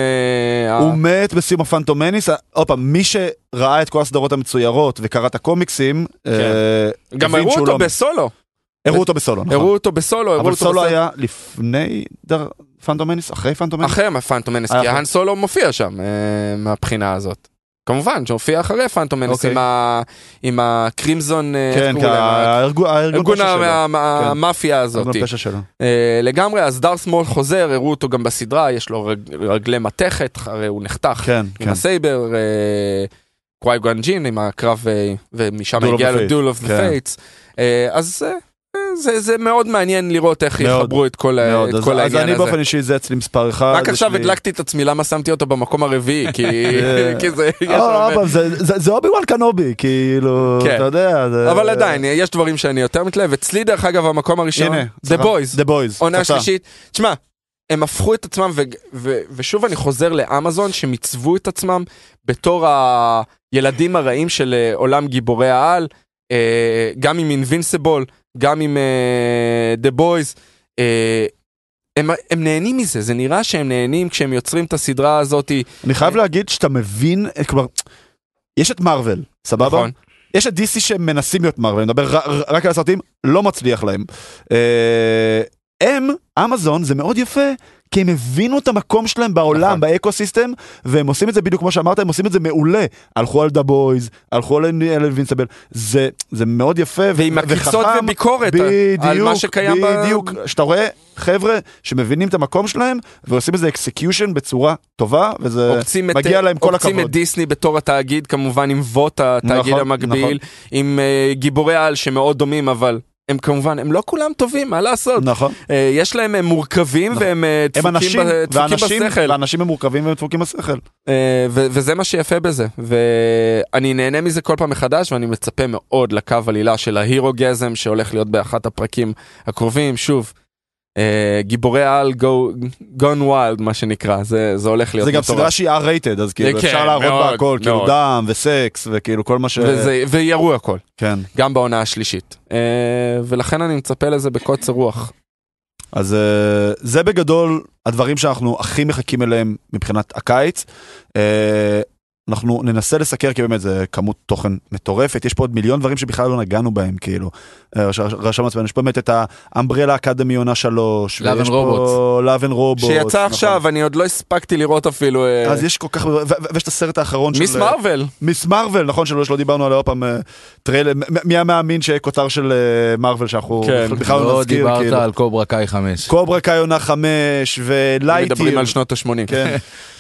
הוא מת בסיום הפנטומניס, אה, עוד פעם, מי שראה את כל הסדרות המצוירות וקרא את הקומיקסים, אה,
כן. גם
הבין
הראו
שהוא
אותו
לא מת.
בסולו,
הראו אותו בסולו, נכון.
הראו אותו בסולו, הראו
אבל
אותו
סולו
בסולו.
היה לפני דר- פנטומניס, אחרי פנטומניס?
אחרי הפאנטומנס, כי
אה, אחרי.
האן סולו מופיע שם אה, מהבחינה הזאת. כמובן שהופיע אחרי פאנטומנס
אוקיי.
עם, ה, עם הקרימזון, אה, איך
כן, כי
קוראים להם?
הארגון הארגון
ארגון
פשע שלו.
המ-
כן.
המאפיה הזאת.
ארגון הפשע שלו.
אה, לגמרי, אז דארט סמול חוזר, הראו אותו גם בסדרה, יש לו רג- רגלי מתכת, הרי הוא נחתך
כן,
עם
כן.
הסייבר, אה, קוואי גואן ג'ין עם הקרב, אה, ומשם
Duel of
הגיע
the
לו
Fates,
דול אוף דה
כן.
פייטס. אז אה, זה, זה מאוד מעניין לראות איך
מאוד,
יחברו את כל, ה-
מאוד.
את
אז-
כל
אז
העניין
אני
הזה.
באופן אישי זה אצלי מספר אחד.
רק
יש
עכשיו
לי-
הדלקתי את עצמי למה שמתי אותו במקום הרביעי כי
זה-
כי זה יש
אה,
הרבה-
אבל זה- זה זה אובי וואן קנובי, כאילו,
כן.
אתה יודע. זה-
אבל עדיין יש דברים שאני יותר מתלהב אצלי דרך אגב המקום הראשון
הנה,
The Boys
The Boys.
עונה
פצצה.
שלישית תשמע הם הפכו את עצמם ו- ו- ושוב אני חוזר לאמזון שהם עיצבו את עצמם בתור הילדים הרעים של אה, עולם גיבורי העל אה, גם עם אינבינסיבול גם עם אה, The Boys. אה, הם, הם נהנים מזה, זה נראה שהם נהנים כשהם יוצרים את הסדרה הזאתי,
אני חייב להגיד שאתה מבין, את- כלומר, יש את מארוול, סבבה?
נכון.
יש את DC שמנסים להיות מארוול, אני מדבר ר- ר- רק על הסרטים, לא מצליח להם. אה, הם, אמזון, זה מאוד יפה, כי הם הבינו את המקום שלהם בעולם,
נכון.
באקו סיסטם, והם עושים את זה בדיוק כמו שאמרת, הם עושים את זה מעולה. הלכו על דה בויז, הלכו על אינבינסיבל, זה זה מאוד יפה. ו-
ועם עקיצות
וחכם.
וביקורת על-
בדיוק,
על מה שקיים ב-
בדיוק, שאתה רואה חבר'ה שמבינים את המקום שלהם ועושים איזה אקסקיושן בצורה טובה וזה
עוקצים את,
מגיע להם כל
עוקצים
הכבוד.
את דיסני בתור התאגיד כמובן עם ווט התאגיד
נכון,
המקביל
נכון.
עם uh, גיבורי על שמאוד דומים אבל הם כמובן הם לא כולם טובים מה לעשות
נכון.
uh, יש להם הם מורכבים
נכון.
והם אה,
הם
דפוקים
אנשים,
ב- דפוקים
ואנשים,
בשכל
ואנשים הם מורכבים והם דפוקים בשכל.
אה, ו- וזה מה שיפה בזה ואני נהנה מזה כל פעם מחדש ואני מצפה מאוד לקו עלילה של ההירוגזם שהולך להיות באחת הפרקים הקרובים שוב. אה, גיבורי על gone wild מה שנקרא זה זה הולך להיות
זה גם
מטורף.
סדרה שהיא R-rated, אז כאילו
כן,
אפשר להראות בה
מאוד,
הכל, כאילו
מאוד.
דם וסקס וכאילו כל מה ש...
וזה, וירו הכל,
כן.
גם בעונה השלישית. אה, ולכן אני מצפה לזה בקוצר רוח.
אז אה, זה בגדול הדברים שאנחנו הכי מחכים אליהם מבחינת הקיץ. אה, אנחנו ננסה לסקר כי באמת זה כמות תוכן מטורפת יש פה עוד מיליון דברים שבכלל לא נגענו בהם כאילו. אה, רש- רשם לעצמנו יש פה באמת את האמברלה אקדמי עונה 3.
Love and Robots.
לאבן רובוט.
שיצא עכשיו, אני עוד לא הספקתי לראות אפילו... אה,
נכון. אז יש כל כך, ו- ו- ויש את הסרט האחרון של... אה,
מיס מרוויל,
מיס מרוויל, נכון שלא שלא דיברנו עליה עוד פעם, אה, טריילר, מ- מ- מי היה מאמין שיהיה כותר של אה, מרוויל שאנחנו
כן.
בכלל- בכלל לא
לא
נזכיר,
דיברת
כאילו.
על קוברה קאי 5.
קוברה קאי עונה 5
מדברים
ולייטיר,
על שנות ה-80.
כן,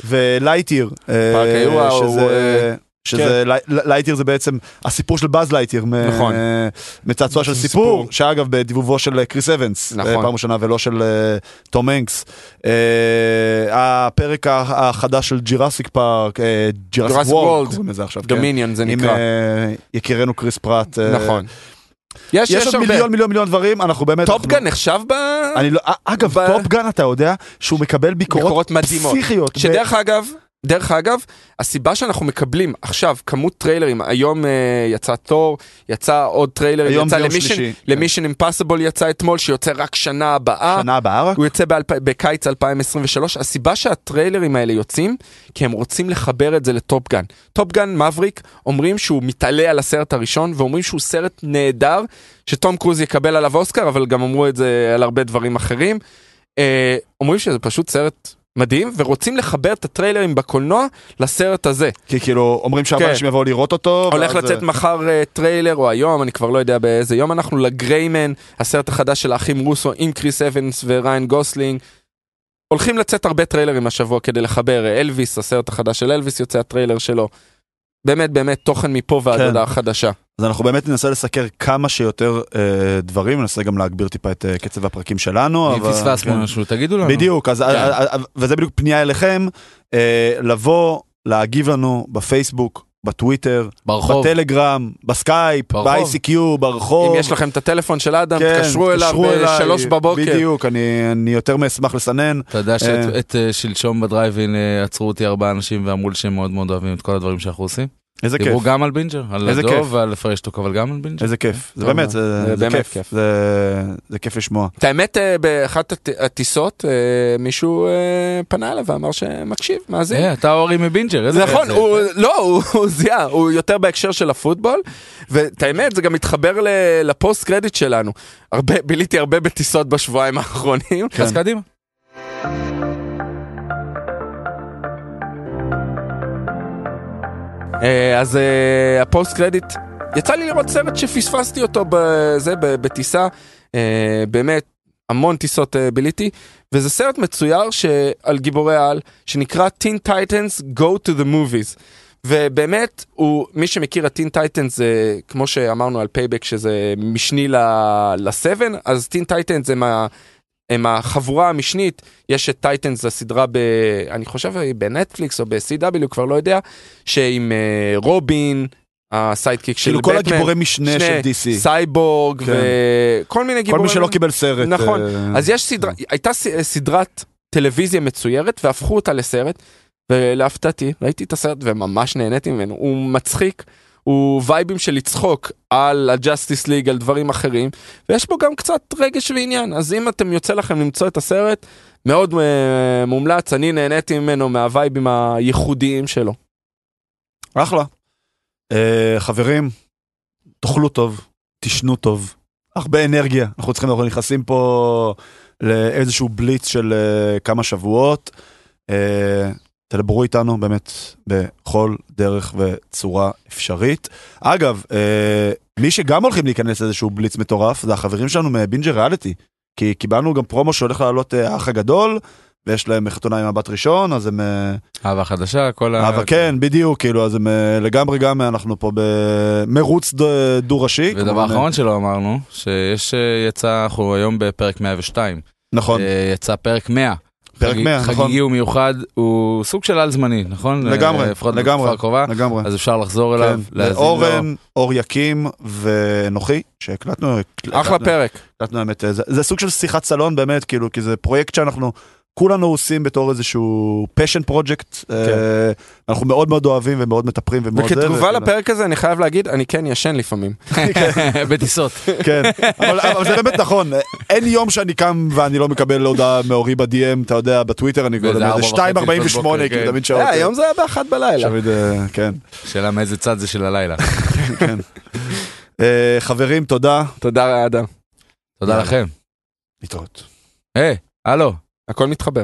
ולייטיר, אה,
פארק היורה, הוא,
שזה...
אה,
שזה לי- לייטיר זה בעצם הסיפור של באז לייטיר, מ-
נכון.
אה, מצעצוע של סיפור,
סיפור.
שאגב בדיבובו של אה, קריס אבנס,
נכון.
אה, פעם ראשונה ולא של אה, תום הנקס. אה, הפרק ה- החדש של ג'ירסיק פארק, אה,
Jurassic
ג'ירסיק וורלד,
World.
קוראים לזה עכשיו, כן.
דומיניון זה
עם
נקרא.
אה, יקירנו קריס פרט. אה,
נכון. יש,
יש
יש
עוד
הרבה.
מיליון מיליון מיליון דברים, אנחנו באמת...
טופגן
אנחנו-
נחשב ב...
אני לא, א- אגב,
ב-
טופגן אתה יודע שהוא מקבל ביקורות
ביקורות מדהימות.
פסיכיות. ב-
שדרך אגב, דרך אגב, הסיבה שאנחנו מקבלים עכשיו כמות טריילרים, היום אה, יצא תור, יצא עוד טריילר,
היום
יצא
זה יום
למישן,
שלישי, כן.
למישן אימפסיבול יצא אתמול, שיוצא רק שנה הבאה.
שנה הבאה רק?
הוא יוצא באלפ... בקיץ 2023. הסיבה שהטריילרים האלה יוצאים, כי הם רוצים לחבר את זה לטופגן. טופגן מבריק אומרים שהוא מתעלה על הסרט הראשון, ואומרים שהוא סרט נהדר, שתום קרוז יקבל עליו אוסקר, אבל גם אמרו את זה על הרבה דברים אחרים. אה, אומרים שזה פשוט סרט מדהים, ורוצים לחבר את הטריילרים בקולנוע לסרט הזה.
כי כאילו אומרים שהרבה
כן.
אנשים יבואו לראות אותו.
הולך
ואז,
לצאת
אה,
מחר אה, טריילר, או היום, אני כבר לא יודע באיזה יום אנחנו, לגריימן, הסרט החדש של האחים רוסו עם קריס אבנס וריין גוסלינג, הולכים לצאת הרבה טריילרים השבוע כדי לחבר. אה, אלוויס, הסרט החדש של אלוויס, יוצא הטריילר שלו. באמת באמת תוכן מפה ועד
כן.
הודעה חדשה.
אז אנחנו באמת ננסה לסקר כמה שיותר אה, דברים, ננסה גם להגביר טיפה את אה, קצב הפרקים שלנו.
אם
אבל-
פספסנו
כן.
משהו, תגידו לנו.
בדיוק,
כן.
אז, אז, וזה בדיוק פנייה אליכם, אה, לבוא, להגיב לנו בפייסבוק, בטוויטר,
ברחוב.
בטלגרם, בסקייפ,
ברחוב.
ב-ICQ, ברחוב.
אם יש לכם את הטלפון של אדם,
כן,
תתקשרו אליו
תתקשרו אליי,
בשלוש בבוקר.
בדיוק, אני, אני יותר מאשמח לסנן.
אתה יודע
אה.
שאת את, אה, שלשום בדרייבין אה, עצרו אותי ארבעה אנשים ואמרו לי שהם מאוד מאוד אוהבים את כל הדברים שאנחנו עושים.
איזה כיף,
דיברו גם על בינג'ר, על
איזה כיף.
הדוב ועל פרשטוק, אבל גם על בינג'ר.
איזה כיף. זה
טוב
באמת, אה,
מאוד.
זה, זה
זה באמת
כיף.
כיף.
זה, זה כיף לשמוע.
את האמת, אה, באחת הט- הטיסות אה, מישהו אה, פנה אליו ואמר שמקשיב, מאזין.
אה, אתה אורי מבינג'ר, איזה
נכון,
זה-
הוא לא, הוא- הוא זיהה, הוא יותר בהקשר של הפוטבול, ואת האמת, זה גם מתחבר ל- לפוסט קרדיט שלנו. הרבה, ביליתי הרבה בטיסות בשבועיים האחרונים.
אז
כן.
קדימה.
אה, אז אה, הפוסט קרדיט, יצא לי לראות סרט שפספסתי אותו בזה, ב- בטיסה, אה, באמת, המון טיסות אה, ביליתי, וזה סרט מצויר ש- על גיבורי העל, שנקרא Teen Titans Go to the Movies. ובאמת, הוא, מי שמכיר הטין טייטנס זה, כמו שאמרנו על פייבק שזה משני ל- לסבן, אז טין טייטנס הם, ה- הם החבורה המשנית, יש את טייטנס, זו סדרה ב... אני חושב היא בנטפליקס או ב-CW, כבר לא יודע, שעם אה, רובין, הסיידקיק של
כאילו
בטמן,
כל הגיבורי משנה של DC.
סייבורג
כן.
וכל מיני
כל
גיבורים.
מי שלא קיבל סרט.
נכון.
אה,
אז יש סדרה, הייתה ס- סדרת טלוויזיה מצוירת והפכו אותה לסרט, ולהפתעתי ראיתי את הסרט וממש נהניתי ממנו, הוא מצחיק, הוא וייבים של לצחוק על הג'אסטיס ליג, על דברים אחרים, ויש בו גם קצת רגש ועניין, אז אם אתם יוצא לכם למצוא את הסרט, מאוד אה, מומלץ, אני נהניתי ממנו מהווייבים הייחודיים שלו.
אחלה. אה, חברים, תאכלו טוב, תשנו טוב, הרבה אנרגיה. אנחנו צריכים, אנחנו נכנסים פה לאיזשהו בליץ של אה, כמה שבועות. אה, תדברו איתנו באמת בכל דרך וצורה אפשרית. אגב, אה, מי שגם הולכים להיכנס לאיזשהו בליץ מטורף, זה החברים שלנו מבינג'ר ריאליטי. כי קיבלנו גם פרומו שהולך לעלות אה, האח הגדול, ויש להם חתונה עם הבת ראשון, אז הם... אה,
אהבה חדשה, כל ה...
אבל כן, בדיוק, כאילו, אז הם אה, לגמרי גם אה, אנחנו פה במרוץ ד- דו-ראשי.
ודבר
כמובן, אה,
אחרון שלא אמרנו, שיש, אה, יצא, אנחנו היום בפרק 102.
נכון,
אה, יצא פרק 100.
פרק
חגיג-
100, נכון.
חגיגי ומיוחד, הוא סוג של על-זמני, נכון?
לגמרי,
אה, לפחות
לגמרי.
בתקופה הקרובה,
לגמרי.
אז אפשר לחזור
כן,
אליו, להאזין לו.
אורן, אור יקים ואנוכי, שהקלטנו, הקלטנו-
אחלה פרק.
הקלטנו האמת, אה, זה- זה סוג של שיחת סלון באמת, כאילו, כי זה פרויקט שאנחנו כולנו עושים בתור איזשהו passion project,
כן.
אה, אנחנו מאוד מאוד אוהבים ומאוד מטפרים ומאוד זה,
וכתגובה
וכאילו-
לפרק הזה אני חייב להגיד, אני כן ישן לפעמים.
בטיסות.
כן, אבל, אבל זה באמת נכון, אין יום שאני קם ואני לא מקבל הודעה מהורי ב-DM, אתה יודע, בטוויטר אני
באיזה
קורא לזה
ארבע וחצי
2.48,
לפנות בוקר,
כאילו
כן.
תמיד שעות.
אה, היום זה היה באחת בלילה.
תמיד, אה, כן,
שאלה מאיזה צד זה של הלילה.
כן. אה, חברים, תודה.
תודה אדם,
תודה
יאללה.
לכם.
להתראות.
היי, הלו.
הכל מתחבר.